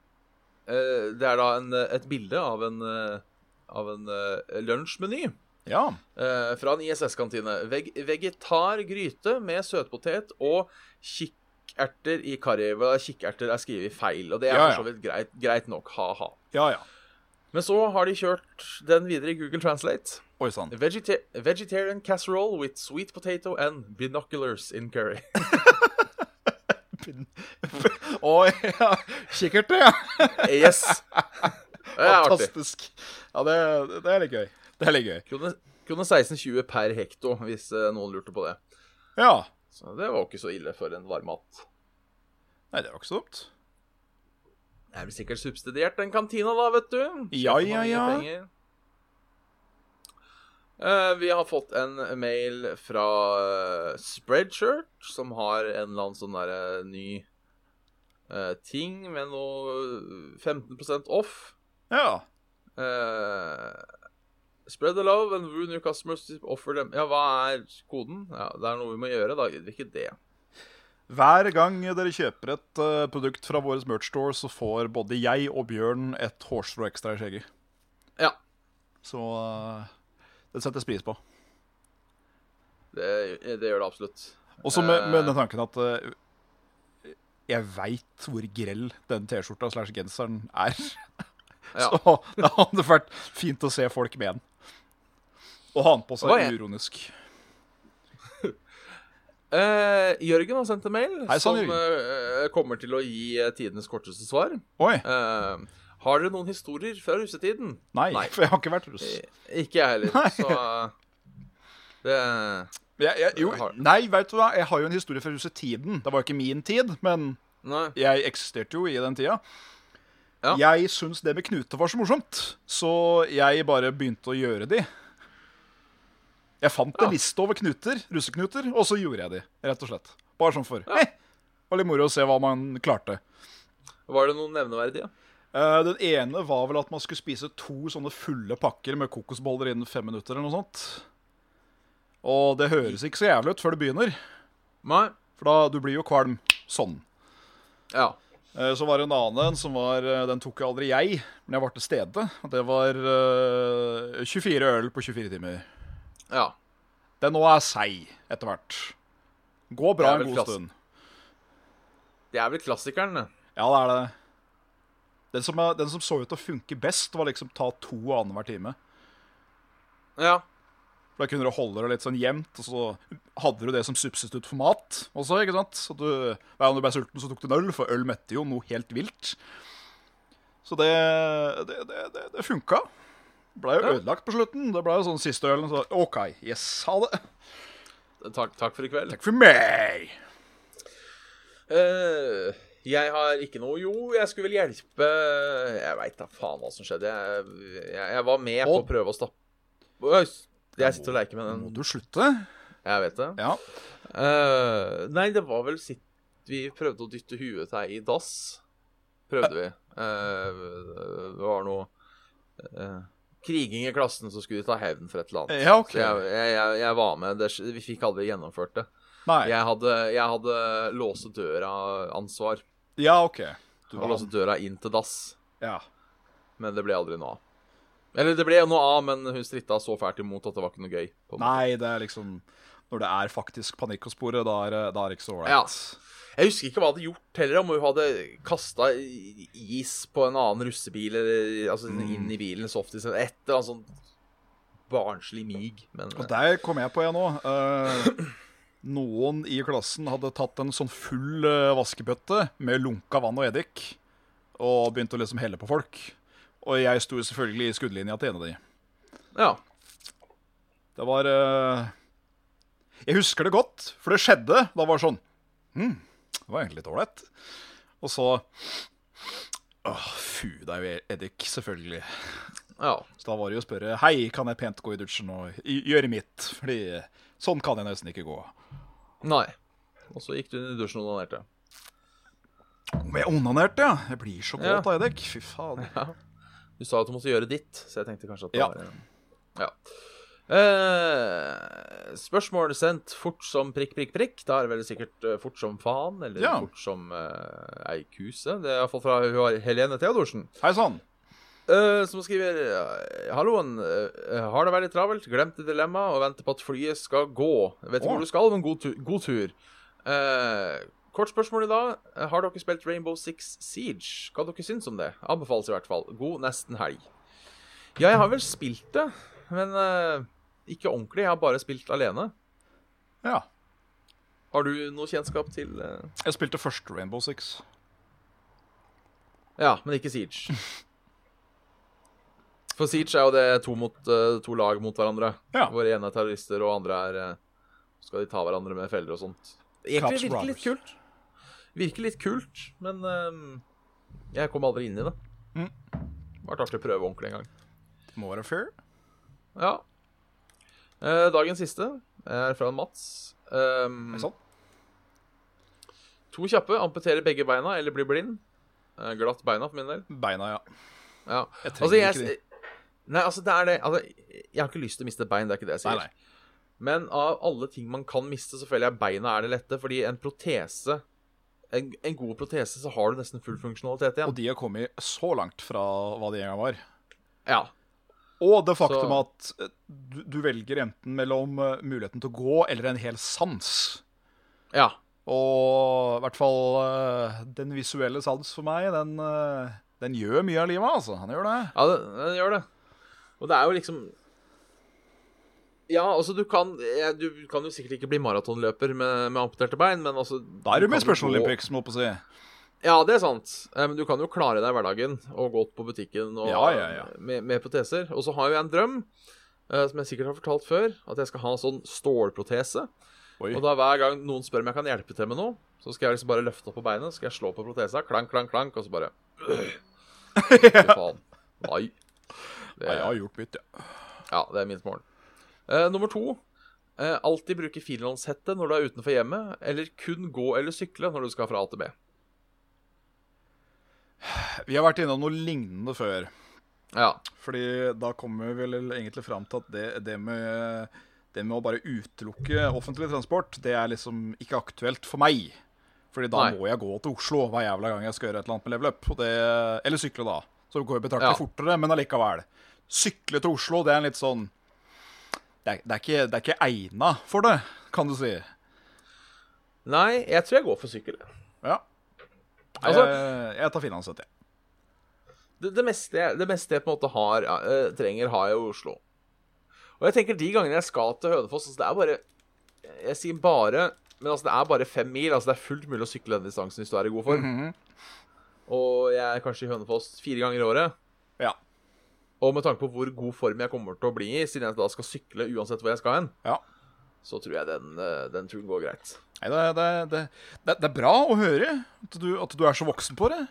[SPEAKER 2] eh, det er da en, eh, et bilde av en, eh, av en eh, lunsjmeny.
[SPEAKER 3] Ja,
[SPEAKER 2] Eh, fra en ISS-kantine. Veg vegetar gryte med søtpotet og kikkerter i karri. Hva, Kikkerter er skrevet feil, og det er
[SPEAKER 3] Ja, ja.
[SPEAKER 2] for så vidt greit, greit nok. Ha-ha.
[SPEAKER 3] ja, ja.
[SPEAKER 2] Men så har de kjørt den videre i Google Translate.
[SPEAKER 3] Oi, sann.
[SPEAKER 2] Vegeta vegetarian casserole with sweet potato and binoculars in curry.
[SPEAKER 3] Oi, ja. kikkert det, ja.
[SPEAKER 2] Yes! Det er artig.
[SPEAKER 3] Fantastisk. Ja, det, det er litt gøy. Det er litt gøy.
[SPEAKER 2] Kroner kroner 16,20 per hekto, hvis eh, noen lurte på det.
[SPEAKER 3] Ja,
[SPEAKER 2] Så det var jo ikke så ille for en varmmat.
[SPEAKER 3] nei, det var ikke så dumt.
[SPEAKER 2] Det er vel sikkert subsidiert, den kantina, da, vet du.
[SPEAKER 3] Ja,
[SPEAKER 2] Skjønner
[SPEAKER 3] ja,
[SPEAKER 2] mange
[SPEAKER 3] ja.
[SPEAKER 2] penger. Eh, vi har fått en mail fra eh, Spreadshirt, som har en eller annen sånn derre ny eh, ting med noe 15 off.
[SPEAKER 3] Ja.
[SPEAKER 2] Eh, spread the love and woo new customers to offer them Ja, hva er koden? Ja, Det er noe vi må gjøre, da. Gjør vi ikke det?
[SPEAKER 3] Hver gang dere kjøper et eh, produkt fra vår merch store, så får både jeg og Bjørn et hårstrå ekstra i skjegget.
[SPEAKER 2] Ja.
[SPEAKER 3] Så eh, det settes pris på.
[SPEAKER 2] Det, det gjør det absolutt.
[SPEAKER 3] Også med, med den tanken at eh, jeg veit hvor grell den T-skjorta slash genseren er.
[SPEAKER 2] Ja.
[SPEAKER 3] Så det hadde vært fint å se folk med den. Og ha den på seg
[SPEAKER 2] Oi.
[SPEAKER 3] uironisk.
[SPEAKER 2] Eh, Jørgen har sendt en mail
[SPEAKER 3] Hei, sann,
[SPEAKER 2] som
[SPEAKER 3] Jørgen.
[SPEAKER 2] eh, kommer til å gi eh, tidenes korteste svar.
[SPEAKER 3] Oi,
[SPEAKER 2] Eh, har dere noen historier fra russetiden?
[SPEAKER 3] nei,
[SPEAKER 2] nei.
[SPEAKER 3] for jeg har ikke vært russ.
[SPEAKER 2] Eh, Ikke jeg heller, så eh, det
[SPEAKER 3] Jeg, jeg, jo,
[SPEAKER 2] Har-
[SPEAKER 3] nei, vet du hva, jeg har jo en historie fra russetiden. Det var ikke min tid, men
[SPEAKER 2] Nei.
[SPEAKER 3] jeg eksisterte jo i den tida.
[SPEAKER 2] Ja.
[SPEAKER 3] Jeg syns det med knute var så morsomt, så jeg bare begynte å gjøre de. Jeg fant
[SPEAKER 2] Ja.
[SPEAKER 3] en liste over knuter, russeknuter, og så gjorde jeg de, rett og slett. Bare sånn for. Hei, det var litt moro å se hva man klarte.
[SPEAKER 2] Var det noen nevneverdige?
[SPEAKER 3] Eh, den ene var vel at man skulle spise to sånne fulle pakker med kokosboller innen fem minutter eller noe sånt. Og det høres ikke så jævlig ut før det begynner,
[SPEAKER 2] Nei?
[SPEAKER 3] for da du blir jo kvalm sånn.
[SPEAKER 2] Ja.
[SPEAKER 3] Eh, Så var det en annen en som var eh, Den tok jo aldri jeg, men jeg var til stede. Og Det var eh, 24 øl på 24 timer.
[SPEAKER 2] ja.
[SPEAKER 3] Den nå er seig etter hvert. Går bra
[SPEAKER 2] Det er
[SPEAKER 3] en
[SPEAKER 2] vel
[SPEAKER 3] god
[SPEAKER 2] klasse.
[SPEAKER 3] stund.
[SPEAKER 2] Det er vel klassikeren, det.
[SPEAKER 3] Ja, det er det. Den som, er, den som så ut til å funke best, var liksom ta to annenhver time.
[SPEAKER 2] Ja.
[SPEAKER 3] For Da kunne du holde det litt sånn jevnt, og så hadde du det som substitutt for mat også. ikke sant? Så du, Hver gang du ble sulten, så tok du en øl, for øl mette jo noe helt vilt. Så det, det, det, det, det funka. Blei jo
[SPEAKER 2] Ja.
[SPEAKER 3] ødelagt på slutten. Det blei jo sånn siste ølen. Så OK, yes, ha det.
[SPEAKER 2] Takk, takk for i kveld.
[SPEAKER 3] Takk for meg.
[SPEAKER 2] Eh, jeg har ikke noe Jo, jeg skulle vel hjelpe Jeg veit da faen hva som skjedde. Jeg, jeg, jeg var med på å
[SPEAKER 3] Odd.
[SPEAKER 2] prøve å stappe Oi, Jeg sitter og leker med
[SPEAKER 3] Må
[SPEAKER 2] den.
[SPEAKER 3] du slutte?
[SPEAKER 2] Jeg vet det.
[SPEAKER 3] Ja.
[SPEAKER 2] Eh, nei, det var vel sitt Vi prøvde å dytte huet til ei i dass. Prøvde vi. Eh, det var noe eh, kriging i klassen, så skulle de ta hevn for et eller annet.
[SPEAKER 3] Ja, OK.
[SPEAKER 2] Så jeg, jeg, jeg, jeg var med. Det, vi fikk aldri gjennomført det.
[SPEAKER 3] Nei.
[SPEAKER 2] Jeg hadde, jeg hadde låse døra-ansvar.
[SPEAKER 3] Ja, OK. Du
[SPEAKER 2] Og
[SPEAKER 3] var
[SPEAKER 2] låse døra inn til dass.
[SPEAKER 3] Ja.
[SPEAKER 2] Men det ble aldri noe av. Eller det ble noe av, men hun stritta så fælt imot at det var ikke noe gøy. På en måte.
[SPEAKER 3] Nei, det er liksom Når det er faktisk panikk å spore, da er, det- da er det ikke så
[SPEAKER 2] Ja.
[SPEAKER 3] ålreit.
[SPEAKER 2] Jeg husker ikke hva jeg hadde gjort heller, om hun hadde kasta is på en annen russebil, eller altså
[SPEAKER 3] Mm.
[SPEAKER 2] inn i bilen, softis, eller et eller annet sånt barnslig mig. Men
[SPEAKER 3] Og der kom jeg på jeg nå. Eh, noen i klassen hadde tatt en sånn full eh, vaskebøtte med lunka vann og eddik, og begynte å liksom helle på folk. Og jeg sto jo selvfølgelig i skuddlinja til en av de.
[SPEAKER 2] ja.
[SPEAKER 3] Det var eh, Jeg husker det godt, for det skjedde. Da var det sånn Hm, det var egentlig litt ålreit. Og så Åh, fu, det er jo eddik, selvfølgelig.
[SPEAKER 2] ja.
[SPEAKER 3] Så da var det jo å spørre Hei, kan jeg pent gå i dusjen og i- gjøre mitt? Fordi sånn kan jeg nesten ikke gå.
[SPEAKER 2] Nei. Og så gikk du inn i dusjen og donerte.
[SPEAKER 3] Om jeg onanerte, ja. Jeg blir så
[SPEAKER 2] Ja.
[SPEAKER 3] kåt av eddik. Fy faen.
[SPEAKER 2] Du sa at du måtte gjøre ditt, så jeg tenkte kanskje at det
[SPEAKER 3] Ja.
[SPEAKER 2] var Ja. Eh, spørsmål sendt fort som prikk, prikk, prikk. Da er det vel sikkert eh, fort som faen, eller
[SPEAKER 3] Ja.
[SPEAKER 2] fort som eh, ei kuse. Det har jeg fått fra hun har Helene Theodorsen.
[SPEAKER 3] Hei sann.
[SPEAKER 2] Eh, som skriver eh, Halloen, eh, har det vært litt travelt? Glemte dilemma og venter på at flyet skal gå. Vet ikke
[SPEAKER 3] Å.
[SPEAKER 2] hvor du skal, men god tur. God tur. Eh, kort spørsmål i dag. Eh, Har dere spilt Rainbow Six Siege? Hva dere syns om det? Anbefales i hvert fall. God nesten helg. Ja, jeg har vel spilt det, men eh, ikke ordentlig. Jeg har bare spilt alene.
[SPEAKER 3] Ja.
[SPEAKER 2] Har du noe kjennskap til eh,
[SPEAKER 3] Jeg spilte først Rainbow Six.
[SPEAKER 2] Ja, men ikke Siege. For Siege er jo det to, mot, eh, to lag mot hverandre.
[SPEAKER 3] Ja.
[SPEAKER 2] Hvor ene er terrorister, og andre er eh, Skal de ta hverandre med feller og sånt. Egentlig
[SPEAKER 3] Cops
[SPEAKER 2] virker litt
[SPEAKER 3] Robbers.
[SPEAKER 2] kult. Virker litt kult, men eh, jeg kom aldri inn i det.
[SPEAKER 3] Mm.
[SPEAKER 2] Vært artig å prøve ordentlig en gang.
[SPEAKER 3] More fair.
[SPEAKER 2] Ja. Eh, dagens siste er fra Mats. Um,
[SPEAKER 3] Hei sann.
[SPEAKER 2] to kjappe. Amputere begge beina eller bli blind. Eh, glatt beina for min del.
[SPEAKER 3] Beina, ja.
[SPEAKER 2] Ja.
[SPEAKER 3] Jeg
[SPEAKER 2] Altså,
[SPEAKER 3] trenger
[SPEAKER 2] jeg,
[SPEAKER 3] ikke de.
[SPEAKER 2] Nei, altså, det er det altså, Jeg har ikke lyst til å miste bein, det er ikke det jeg
[SPEAKER 3] Nei,
[SPEAKER 2] sier.
[SPEAKER 3] nei.
[SPEAKER 2] Men av alle ting man kan miste, så føler jeg beina er det lette, fordi en protese en, en god protese, så har du nesten full funksjonalitet
[SPEAKER 3] Og
[SPEAKER 2] igjen.
[SPEAKER 3] de har kommet så langt fra hva de en gang var.
[SPEAKER 2] Ja.
[SPEAKER 3] Og det faktum at eh, du, du velger enten mellom eh, muligheten til å gå eller en hel sans.
[SPEAKER 2] Ja.
[SPEAKER 3] Og i hvert fall eh, den visuelle sans for meg, den, eh, den gjør mye av livet, altså. Han gjør det.
[SPEAKER 2] Ja, det, den gjør det. Og det er jo liksom Ja, altså, du kan ja, Du kan jo sikkert ikke bli maratonløper med, med amputerte bein, men altså
[SPEAKER 3] Da er
[SPEAKER 2] du
[SPEAKER 3] det med
[SPEAKER 2] kan jo
[SPEAKER 3] Special
[SPEAKER 2] gå-
[SPEAKER 3] Olympics, må jeg på å si.
[SPEAKER 2] Ja, det er sant. Eh, Men du kan jo klare deg i hverdagen og gått på butikken og
[SPEAKER 3] Ja, ja, ja.
[SPEAKER 2] Med, med proteser. Og så har jo jeg en drøm, eh, som jeg sikkert har fortalt før, at jeg skal ha en sånn stålprotese.
[SPEAKER 3] Oi.
[SPEAKER 2] Og da hver gang noen spør om jeg kan hjelpe til med noe, så skal jeg liksom bare løfte opp på beinet, så skal jeg slå på protesa, klank, klank, klank, og så bare Fy faen. Nei. Det
[SPEAKER 3] Ja, jeg
[SPEAKER 2] er,
[SPEAKER 3] har gjort mitt, ja.
[SPEAKER 2] ja, det er min morgen. Eh, nummer to. Eh, alltid bruke finlandshette når du er utenfor hjemmet, eller kun gå eller sykle når du skal fra A til B.
[SPEAKER 3] Vi har vært innom noe lignende før.
[SPEAKER 2] Ja.
[SPEAKER 3] Fordi da kommer vi vel egentlig fram til at det, det, med, det med å bare utelukke offentlig transport, det er liksom ikke aktuelt for meg. Fordi da
[SPEAKER 2] Nei.
[SPEAKER 3] må jeg gå til Oslo hver jævla gang jeg skal gjøre et eller annet med level up. Og det, eller sykle, da. Så det går jo betraktelig
[SPEAKER 2] Ja.
[SPEAKER 3] fortere, men allikevel. Sykle til Oslo, det er litt sånn Det er, det er ikke, det er ikke egna for det, kan du si.
[SPEAKER 2] Nei, jeg tror jeg går for sykkel.
[SPEAKER 3] Ja.
[SPEAKER 2] Altså-
[SPEAKER 3] jeg, jeg tar finanshett, jeg.
[SPEAKER 2] Det, det, meste, jeg- det meste jeg på en måte har, ja, eh, trenger, har jeg i Oslo. Og jeg tenker de gangene jeg skal til Hønefoss altså, Det er bare Jeg sier bare, men altså, det er bare fem mil. Altså, det er fullt mulig å sykle den distansen hvis du er i god form. Og jeg er kanskje i Hønefoss fire ganger i året.
[SPEAKER 3] Ja.
[SPEAKER 2] Og med tanke på hvor god form jeg kommer til å bli i, siden jeg da skal sykle uansett hvor jeg skal hen,
[SPEAKER 3] ja.
[SPEAKER 2] så tror jeg den, eh, den turen går greit.
[SPEAKER 3] Nei, det, det, det, det, det er bra å høre at du, at du er så voksen på det.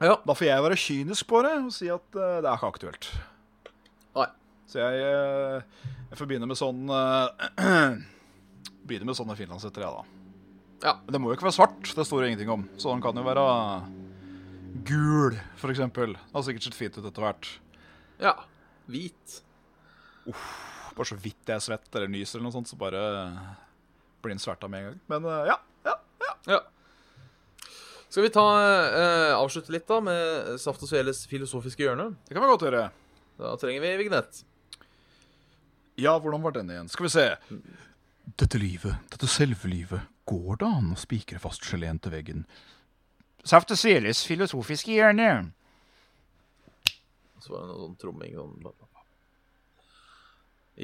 [SPEAKER 2] Ja.
[SPEAKER 3] Da får jeg være kynisk på det og si at eh, det er ikke aktuelt.
[SPEAKER 2] Nei.
[SPEAKER 3] Så jeg, eh, jeg får begynne med sånn eh, Begynne med sånne finlandshetter, jeg, da.
[SPEAKER 2] Ja.
[SPEAKER 3] Men det må jo ikke være svart. Det står det ingenting om. Så den kan jo være gul, f.eks. Det har sikkert sett fint ut etter hvert.
[SPEAKER 2] Ja. Hvit.
[SPEAKER 3] Bare så vidt jeg er svett eller nyser eller noe sånt, så bare blir den sverta med en gang. Men eh, ja. ja.
[SPEAKER 2] Ja. Skal vi ta, eh, avslutte litt da med Saft og Sveles filosofiske hjørne?
[SPEAKER 3] Det kan vi godt gjøre.
[SPEAKER 2] Da trenger vi vignett.
[SPEAKER 3] Ja, hvordan var den igjen? Skal vi se. Dette livet, dette selve livet, går det an å spikre fast geleen til veggen? Saft og seles filosofiske hjørne.
[SPEAKER 2] Så var det noe sånn tromming sånn. bla, bla, bla.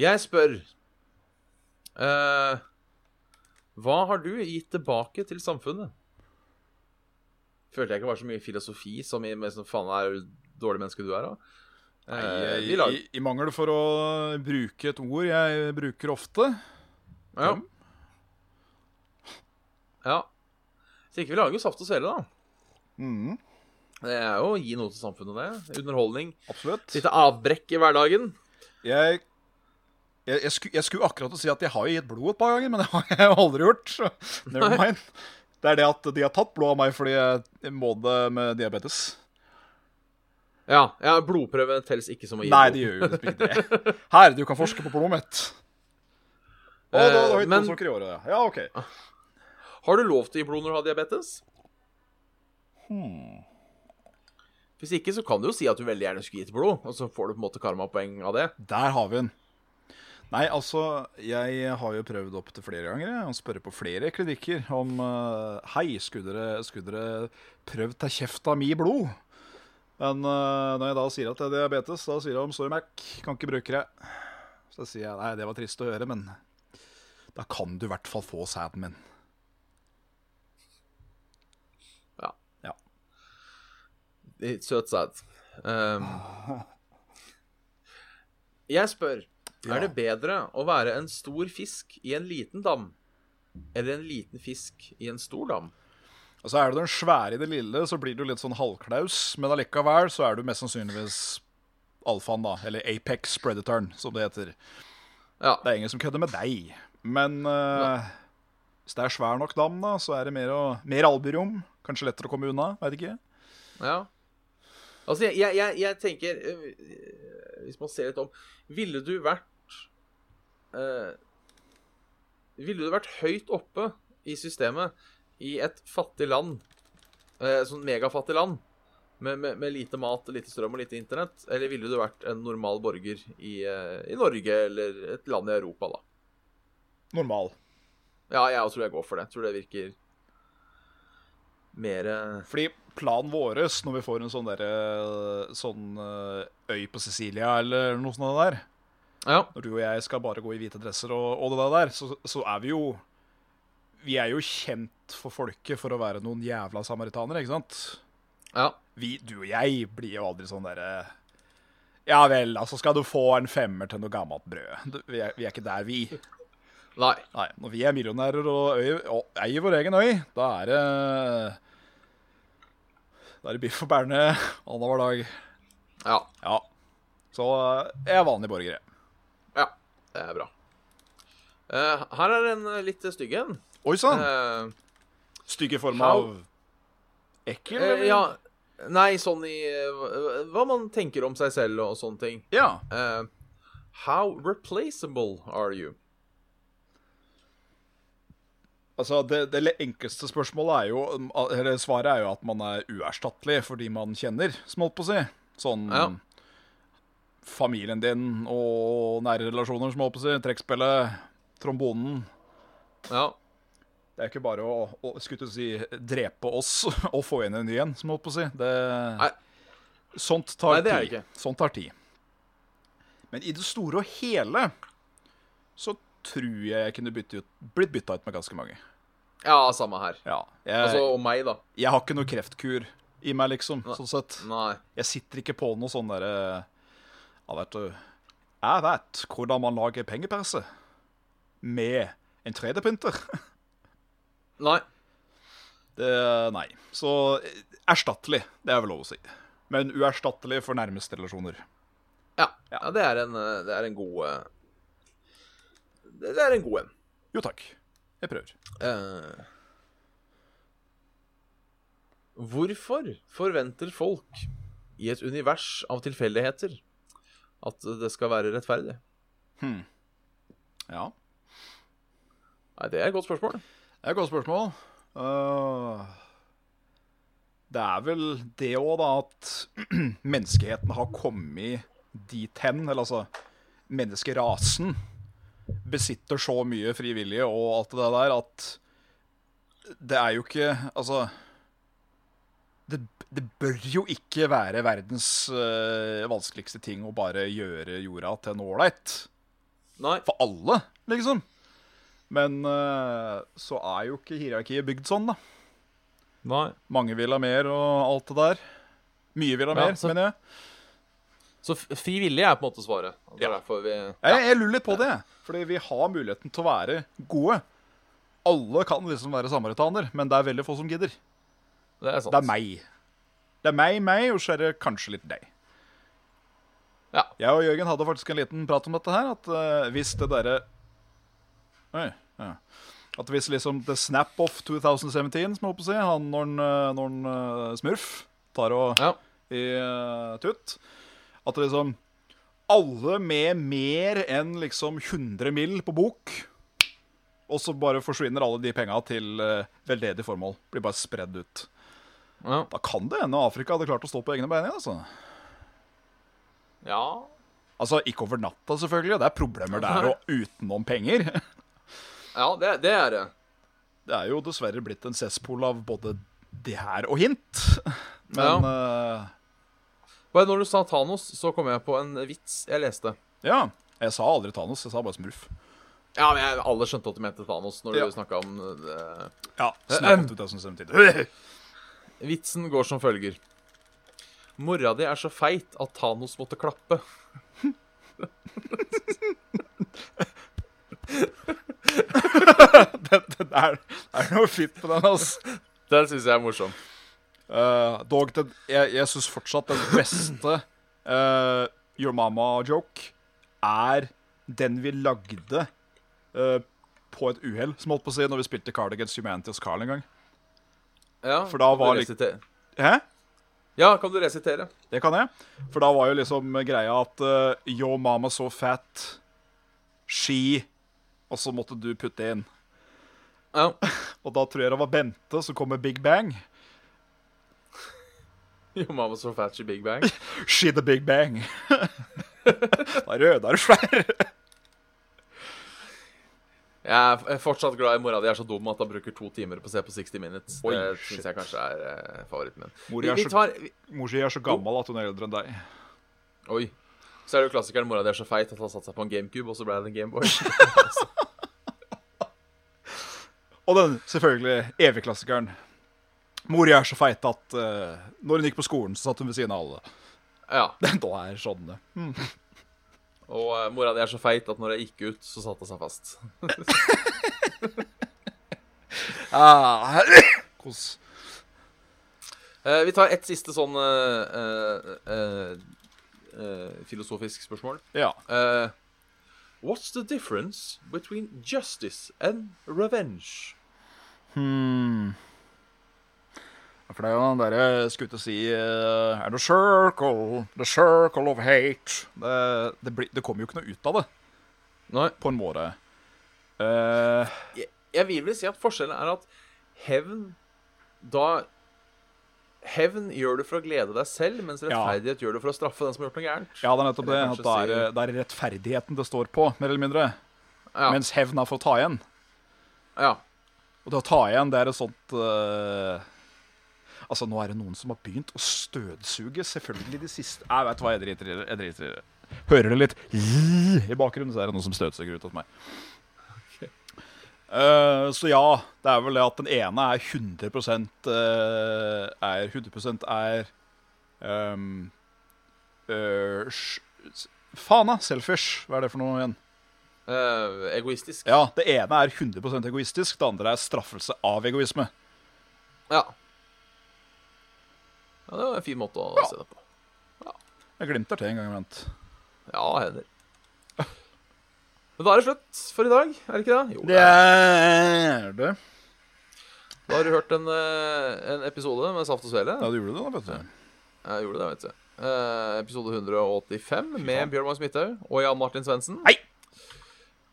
[SPEAKER 2] Jeg spør eh, Hva har du gitt tilbake til samfunnet? Følte jeg ikke var så mye filosofi som i men som faen er dårlig menneske du er, da. Eh,
[SPEAKER 3] I,
[SPEAKER 2] vi lag-
[SPEAKER 3] i, I mangel for å bruke et ord jeg bruker ofte.
[SPEAKER 2] ja. ja. Så ikke vi lager jo Saft og Svele, da.
[SPEAKER 3] Mhm,
[SPEAKER 2] Det er jo å gi noe til samfunnet, det. Underholdning.
[SPEAKER 3] absolutt.
[SPEAKER 2] Litt avbrekk i hverdagen.
[SPEAKER 3] Jeg, jeg, jeg, skulle, jeg skulle akkurat til å si at jeg har jo gitt blod et par ganger, men det har jeg aldri gjort. så Never mind. Det er det at de har tatt blod av meg fordi jeg må det med diabetes.
[SPEAKER 2] Ja, ja blodprøve telles ikke som å gi
[SPEAKER 3] Nei,
[SPEAKER 2] blod.
[SPEAKER 3] det gjør jo liksom ikke det. Her, du kan forske på blodet mitt. Å, da
[SPEAKER 2] Eh,
[SPEAKER 3] har vi to
[SPEAKER 2] men-
[SPEAKER 3] sukker i året, ja. Ja, OK.
[SPEAKER 2] Har du lov til å gi blod når du har diabetes?
[SPEAKER 3] Hmm.
[SPEAKER 2] Hvis ikke, så kan du jo si at du veldig gjerne skulle gitt blod, og så får du på en måte karmapoeng av det.
[SPEAKER 3] Der har vi den. Nei, altså, jeg har jo prøvd opp til flere ganger jeg, å spørre på flere klinikker om eh, Hei, skulle dere, skulle dere prøvd ta kjefta mi blod? Men eh, når jeg da sier at det er diabetes, da sier de sorry, Mac, kan ikke bruke det. Så sier jeg nei, det var trist å høre, men da kan du i hvert fall få sæden min.
[SPEAKER 2] Ja.
[SPEAKER 3] Ja.
[SPEAKER 2] Litt Søt sæd. Ehm, jeg spør
[SPEAKER 3] Ja.
[SPEAKER 2] Er det bedre å være en stor fisk i en liten dam, eller en liten fisk i en stor dam?
[SPEAKER 3] Og så er du den svære i det lille, så blir du litt sånn halvklaus. Men allikevel så er du mest sannsynligvis alfaen, da. Eller Apex Predatoren, som det heter.
[SPEAKER 2] Ja.
[SPEAKER 3] Det er ingen som kødder med deg. Men eh, hvis det er svær nok dam, da, så er det mer, å, mer alburom. Kanskje lettere å komme unna, veit ikke.
[SPEAKER 2] Ja. Altså, jeg, jeg, jeg, jeg tenker øh, Hvis man ser litt om Ville du vært øh, Ville du vært høyt oppe i systemet i et fattig land, øh, sånn eh, megafattig land, Med, med, med lite mat, lite strøm og lite internett? Eller ville du vært en normal borger i, eh, i Norge eller et land i Europa, da?
[SPEAKER 3] Normal.
[SPEAKER 2] Ja, jeg tror jeg går for det. Tror det virker mer eh,
[SPEAKER 3] Fordi planen vår når vi får en sånn, derre- sånn eh, øy på Sicilia eller noe sånt der,
[SPEAKER 2] Ja.
[SPEAKER 3] når du og jeg skal bare gå i hvite dresser og, og det der, så, så er vi jo Vi er jo kjent for folket for å være noen jævla samaritanere, ikke sant?
[SPEAKER 2] ja.
[SPEAKER 3] Vi, du og jeg blir jo aldri sånn derre Ja vel, altså skal du få en femmer til noe gammelt brød. Du, Vi er, vi er ikke der, vi.
[SPEAKER 2] Nei.
[SPEAKER 3] Nei, når vi er millionærer og, øy, og eier vår egen øy, da er det Da er det biff og bærne annenhver dag.
[SPEAKER 2] Ja.
[SPEAKER 3] Ja. Så eh, jeg er vanlig borger, jeg.
[SPEAKER 2] Ja. Det er bra. Eh, her er en eh, litt stygg en.
[SPEAKER 3] Oi sann!
[SPEAKER 2] Eh,
[SPEAKER 3] Stygg i form
[SPEAKER 2] How-
[SPEAKER 3] av ekkel,
[SPEAKER 2] eh,
[SPEAKER 3] eller?
[SPEAKER 2] ja. Nei, sånn i eh, hva- Hva man tenker om seg selv og sånne ting.
[SPEAKER 3] ja.
[SPEAKER 2] Eh, how replaceable are you?
[SPEAKER 3] Altså, det, det le- enkleste spørsmålet er jo um, Eller svaret er jo at man er uerstattelig for de man kjenner, som holdt på å si. Sånn
[SPEAKER 2] Ja.
[SPEAKER 3] Familien din og nære relasjoner, som holdt på å si. Trekkspillet, trombonen.
[SPEAKER 2] Ja.
[SPEAKER 3] Det er ikke bare å, å skulle til å si, drepe oss og få inn en ny en, som jeg holdt på å si. Det,
[SPEAKER 2] Nei.
[SPEAKER 3] Sånt tar
[SPEAKER 2] Nei, det er det
[SPEAKER 3] tid. Sånt tar tid. Men i det store og hele så tror jeg jeg kunne bytte ut, blitt bytta ut med ganske mange.
[SPEAKER 2] Ja, samme her.
[SPEAKER 3] Ja. Jeg,
[SPEAKER 2] Altså, og meg, da.
[SPEAKER 3] jeg har ikke noe kreftkur i meg, liksom, sånn sett.
[SPEAKER 2] Nei.
[SPEAKER 3] Jeg sitter ikke på noe sånn derre Ja, vet du Jeg vet hvordan man lager pengeperse med en 3D-printer.
[SPEAKER 2] Nei.
[SPEAKER 3] Det, nei. Så eh, erstattelig, det er vel lov å si. Men uerstattelig for nærmeste relasjoner.
[SPEAKER 2] Ja.
[SPEAKER 3] Ja.
[SPEAKER 2] ja. det, er en, eh, det er en god eh, Det det er en god en.
[SPEAKER 3] Jo takk. Jeg prøver.
[SPEAKER 2] Eh, hvorfor forventer folk i et univers av tilfeldigheter at det skal være rettferdig?
[SPEAKER 3] Ja.
[SPEAKER 2] Nei, Det er et godt spørsmål.
[SPEAKER 3] Det er et godt spørsmål. Øh, det er vel det òg, da, at menneskeheten har kommet dit hen. Eller altså Menneskerasen besitter så mye frivillige og alt det der at det er jo ikke Altså Det, det bør jo ikke være verdens øh, vanskeligste ting å bare gjøre jorda til en ålreit
[SPEAKER 2] Nei.
[SPEAKER 3] for alle, liksom. Men eh, så er jo ikke hierarkiet bygd sånn, da.
[SPEAKER 2] Nei.
[SPEAKER 3] Mange vil ha mer og alt det der. Mye vil ha
[SPEAKER 2] Ja,
[SPEAKER 3] mer,
[SPEAKER 2] så-
[SPEAKER 3] mener jeg.
[SPEAKER 2] Så f- fri vilje er på en måte svaret. Og Det er
[SPEAKER 3] Ja.
[SPEAKER 2] derfor vi
[SPEAKER 3] Jeg, jeg lurer litt på det, fordi vi har muligheten til å være gode. Alle kan liksom være samaritaner, men det er veldig få som gidder.
[SPEAKER 2] Det er sant.
[SPEAKER 3] Det er meg. Det er meg, meg, og så er det kanskje litt deg.
[SPEAKER 2] Ja.
[SPEAKER 3] Jeg og Jørgen hadde faktisk en liten prat om dette her, at eh, hvis det derre Oi. Ja. At hvis liksom The Snap Off 2017, som jeg holdt på å si, han når han, eh, når han eh, Smurf tar og
[SPEAKER 2] Ja.
[SPEAKER 3] i eh, Tutt, at liksom alle med mer enn liksom 100 mill. på bok, og så bare forsvinner alle de penga til eh, veldedig formål. Blir bare spredd ut.
[SPEAKER 2] Ja.
[SPEAKER 3] Da kan det hende Afrika hadde klart å stå på egne bein igjen. Altså.
[SPEAKER 2] ja.
[SPEAKER 3] altså, ikke over natta, selvfølgelig. og Det er problemer der og utenom penger.
[SPEAKER 2] ja det, det er det.
[SPEAKER 3] Det er jo dessverre blitt en cesspool av både det her og hint. Men eh,
[SPEAKER 2] Bare når du sa Thanos, så kom jeg på en vits jeg leste.
[SPEAKER 3] ja. Jeg sa aldri Thanos, jeg sa bare Smurf.
[SPEAKER 2] Ja, men jeg, Alle skjønte at du mente Thanos når
[SPEAKER 3] Ja.
[SPEAKER 2] du snakka om eh, det.
[SPEAKER 3] Ja, snakket 2017.
[SPEAKER 2] Vitsen går som følger. Mora di er så feit at Thanos måtte klappe.
[SPEAKER 3] det, det, er, det er noe fint på den, altså.
[SPEAKER 2] Den syns jeg er morsom.
[SPEAKER 3] Eh, dog, den, jeg, jeg syns fortsatt den beste eh, Your Mama-joke er den vi lagde eh, på et uhell, som holdt på å si, når vi spilte Card Against Humanity hos Carl en gang.
[SPEAKER 2] Ja,
[SPEAKER 3] For da
[SPEAKER 2] kan du
[SPEAKER 3] var litt-
[SPEAKER 2] resitere?
[SPEAKER 3] Hæ?
[SPEAKER 2] Ja, kan du resitere?
[SPEAKER 3] Det kan jeg. For da var jo liksom greia at eh, Your mama so fat, she Og så måtte du putte inn.
[SPEAKER 2] Ja.
[SPEAKER 3] Og da tror jeg det var Bente som kom med Big Bang.
[SPEAKER 2] Your mom was so fat she big bang.
[SPEAKER 3] She the big bang. da er du da er du svær.
[SPEAKER 2] Jeg er f- fortsatt glad i mora di er så dum at han bruker to timer på å se på 60 Minutes.
[SPEAKER 3] Oi,
[SPEAKER 2] det
[SPEAKER 3] shit.
[SPEAKER 2] syns jeg kanskje er eh, favoritten min.
[SPEAKER 3] Mor,
[SPEAKER 2] Vi,
[SPEAKER 3] jeg er
[SPEAKER 2] vi
[SPEAKER 3] så-
[SPEAKER 2] tar vi,
[SPEAKER 3] Mor si jeg er så gammel at hun er eldre enn deg.
[SPEAKER 2] Oi. Så er det jo klassikeren mora di er så feit at han satte seg på en GameCube, og så ble det en Gameboy.
[SPEAKER 3] Og den selvfølgelig evige klassikeren. Mor jeg er så feit at eh, når hun gikk på skolen, så satt hun ved siden av alle.
[SPEAKER 2] ja.
[SPEAKER 3] da er sånn det.
[SPEAKER 2] Og eh, mora di er så feit at når jeg gikk ut, så satte hun seg fast.
[SPEAKER 3] Ah, kos.
[SPEAKER 2] Eh, vi tar ett siste sånn eh, eh, eh, eh, filosofisk spørsmål.
[SPEAKER 3] Ja.
[SPEAKER 2] Eh, what's the difference between justice and revenge?
[SPEAKER 3] Hmm. For det er jo den derre jeg skulle til å si eh, And the circle, the circle of hate. Det, det, blir- det kommer jo ikke noe ut av det,
[SPEAKER 2] Nei.
[SPEAKER 3] på en måte. Eh,
[SPEAKER 2] jeg, jeg vil vel si at forskjellen er at hevn da Hevn gjør du for å glede deg selv, mens rettferdighet gjør du for å straffe den som har gjort noe gærent.
[SPEAKER 3] ja, det er nettopp det.
[SPEAKER 2] Eller
[SPEAKER 3] At det
[SPEAKER 2] kanskje
[SPEAKER 3] er, det er rettferdigheten det står på, mer eller mindre.
[SPEAKER 2] Ja,
[SPEAKER 3] Mens hevn er for å ta igjen.
[SPEAKER 2] ja.
[SPEAKER 3] Og det å ta igjen, det er et sånt eh, Altså, nå er det noen som har begynt å støvsuge, selvfølgelig de siste Jeg vet hva, jeg driter i det. Jeg driter i det. Hører det litt i bakgrunnen, så er det noen som støvsuger ut hos meg. Eh, så ja, det er vel det at den ene er 100 eh, er 100 er ehm, eh, sj- s- Faen, da! Selfish. Hva er det for noe igjen?
[SPEAKER 2] Eh, egoistisk.
[SPEAKER 3] Ja, Det ene er 100 egoistisk, det andre er straffelse av egoisme.
[SPEAKER 2] Ja. Ja, Det var en fin måte å se det på.
[SPEAKER 3] Jeg glimter til en gang iblant.
[SPEAKER 2] Ja, hender. Men da er det slutt for i dag, er det ikke det? Jo,
[SPEAKER 3] er det.
[SPEAKER 2] da har du hørt en, eh, en episode med Saft og Svele.
[SPEAKER 3] Ja, du gjorde det, da, vet du.
[SPEAKER 2] Jeg gjorde det, vet du. Eh, episode 185 med Bjørn Magnus Midthaug og Jan Martin Svendsen.
[SPEAKER 3] Hei!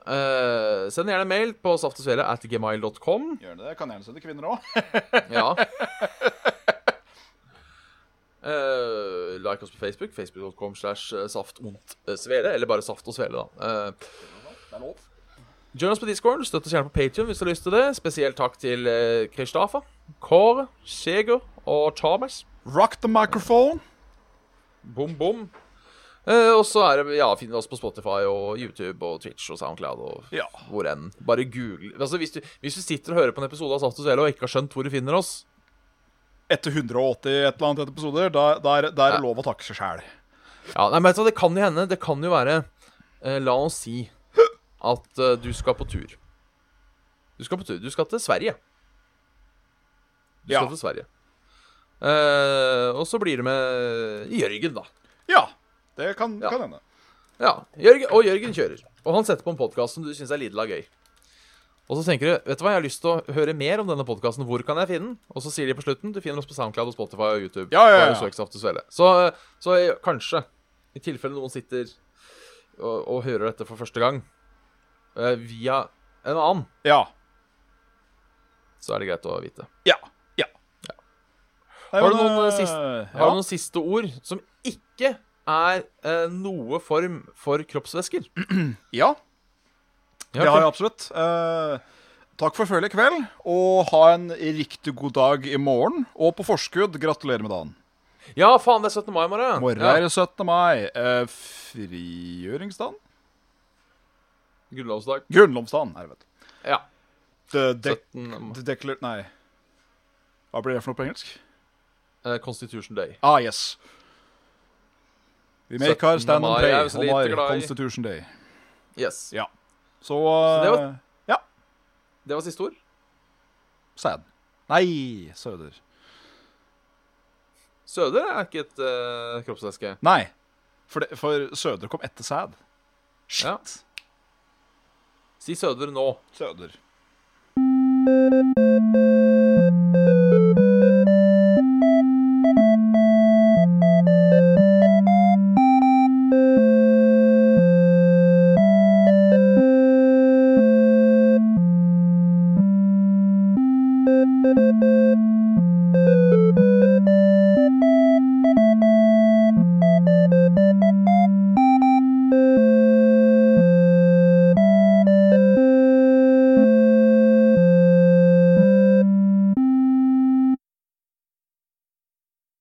[SPEAKER 2] Eh, send gjerne mail på saftogsvele at gmail.com.
[SPEAKER 3] Gjør det, kan gjerne sende kvinner òg.
[SPEAKER 2] Ja. Eh, like oss på Facebook. Facebook.com slash saftondsvele. Eller bare Saft og Svele, da. Eh, join oss på Discord. Støtt oss gjerne på Patreon hvis du har lyst til det. Spesielt takk til eh, Kristafa, Kåre, Sigurd og Thomas.
[SPEAKER 3] Rock the microphone.
[SPEAKER 2] Bom, bom. Eh, og så er det, ja, finner du oss på Spotify og YouTube og Twitch og SoundCloud og
[SPEAKER 3] Ja.
[SPEAKER 2] hvor enn. Bare google. Altså, hvis, du, hvis du sitter og hører på en episode av Saft og Svele og ikke har skjønt hvor du finner oss,
[SPEAKER 3] Etter 180 et eller annet episoder, da, da, er, da er det
[SPEAKER 2] Ja.
[SPEAKER 3] lov å takke seg sjæl.
[SPEAKER 2] ja, nei, men vet du hva, det kan jo hende. Det kan jo være eh, La oss si at eh, du skal på tur. Du skal på tur. Du skal til Sverige. Du
[SPEAKER 3] Ja.
[SPEAKER 2] skal til Sverige. Eh, og så blir det med Jørgen, da.
[SPEAKER 3] Ja. Det kan,
[SPEAKER 2] Ja.
[SPEAKER 3] kan hende.
[SPEAKER 2] Ja, Jørgen, og Jørgen kjører. Og han setter på en podkast som du syns er lidla gøy. Og så tenker du vet du hva, jeg har lyst til å høre mer om denne podkasten. Hvor kan jeg finne den? Og så sier de på slutten du finner oss på SoundCloud og Spotify og YouTube.
[SPEAKER 3] Ja, ja, ja.
[SPEAKER 2] Bare søk Saft og Svele. Så, så jeg- kanskje, i tilfelle noen sitter og, og hører dette for første gang eh, via en annen,
[SPEAKER 3] Ja.
[SPEAKER 2] så er det greit å vite.
[SPEAKER 3] Ja. Ja.
[SPEAKER 2] Har du noen, eh, sist- Har du
[SPEAKER 3] Ja.
[SPEAKER 2] noen siste ord som ikke er eh, noe form for kroppsvæsker?
[SPEAKER 3] ja.
[SPEAKER 2] Ja,
[SPEAKER 3] Det har
[SPEAKER 2] ok.
[SPEAKER 3] jeg absolutt. Eh, takk for følget i kveld, og ha en riktig god dag i morgen. Og på forskudd, gratulerer med dagen.
[SPEAKER 2] ja, faen, det er 17. mai i morgen.
[SPEAKER 3] Morgen
[SPEAKER 2] Ja.
[SPEAKER 3] er det 17. mai. Eh, frigjøringsdagen?
[SPEAKER 2] Grunnlovsdag.
[SPEAKER 3] Grunnlovsdagen, er det, vet du.
[SPEAKER 2] Ja.
[SPEAKER 3] The dek
[SPEAKER 2] 17.
[SPEAKER 3] the declar... Nei. Hva blir det for noe på engelsk?
[SPEAKER 2] eh, Constitution Day.
[SPEAKER 3] Ah, yes. We make our
[SPEAKER 2] 17.
[SPEAKER 3] stand and
[SPEAKER 2] mai
[SPEAKER 3] pray
[SPEAKER 2] er vi så
[SPEAKER 3] on
[SPEAKER 2] lite
[SPEAKER 3] our
[SPEAKER 2] glad i.
[SPEAKER 3] Constitution Day.
[SPEAKER 2] Yes.
[SPEAKER 3] Ja. Så,
[SPEAKER 2] det var-
[SPEAKER 3] eh, Ja.
[SPEAKER 2] Det var siste ord.
[SPEAKER 3] Sad. Nei, Søder.
[SPEAKER 2] Søder er ikke et uh, kroppsvæske.
[SPEAKER 3] Nei. For, det, for Søder kom etter Sad. Shit.
[SPEAKER 2] Ja. Si Søder nå.
[SPEAKER 3] Søder.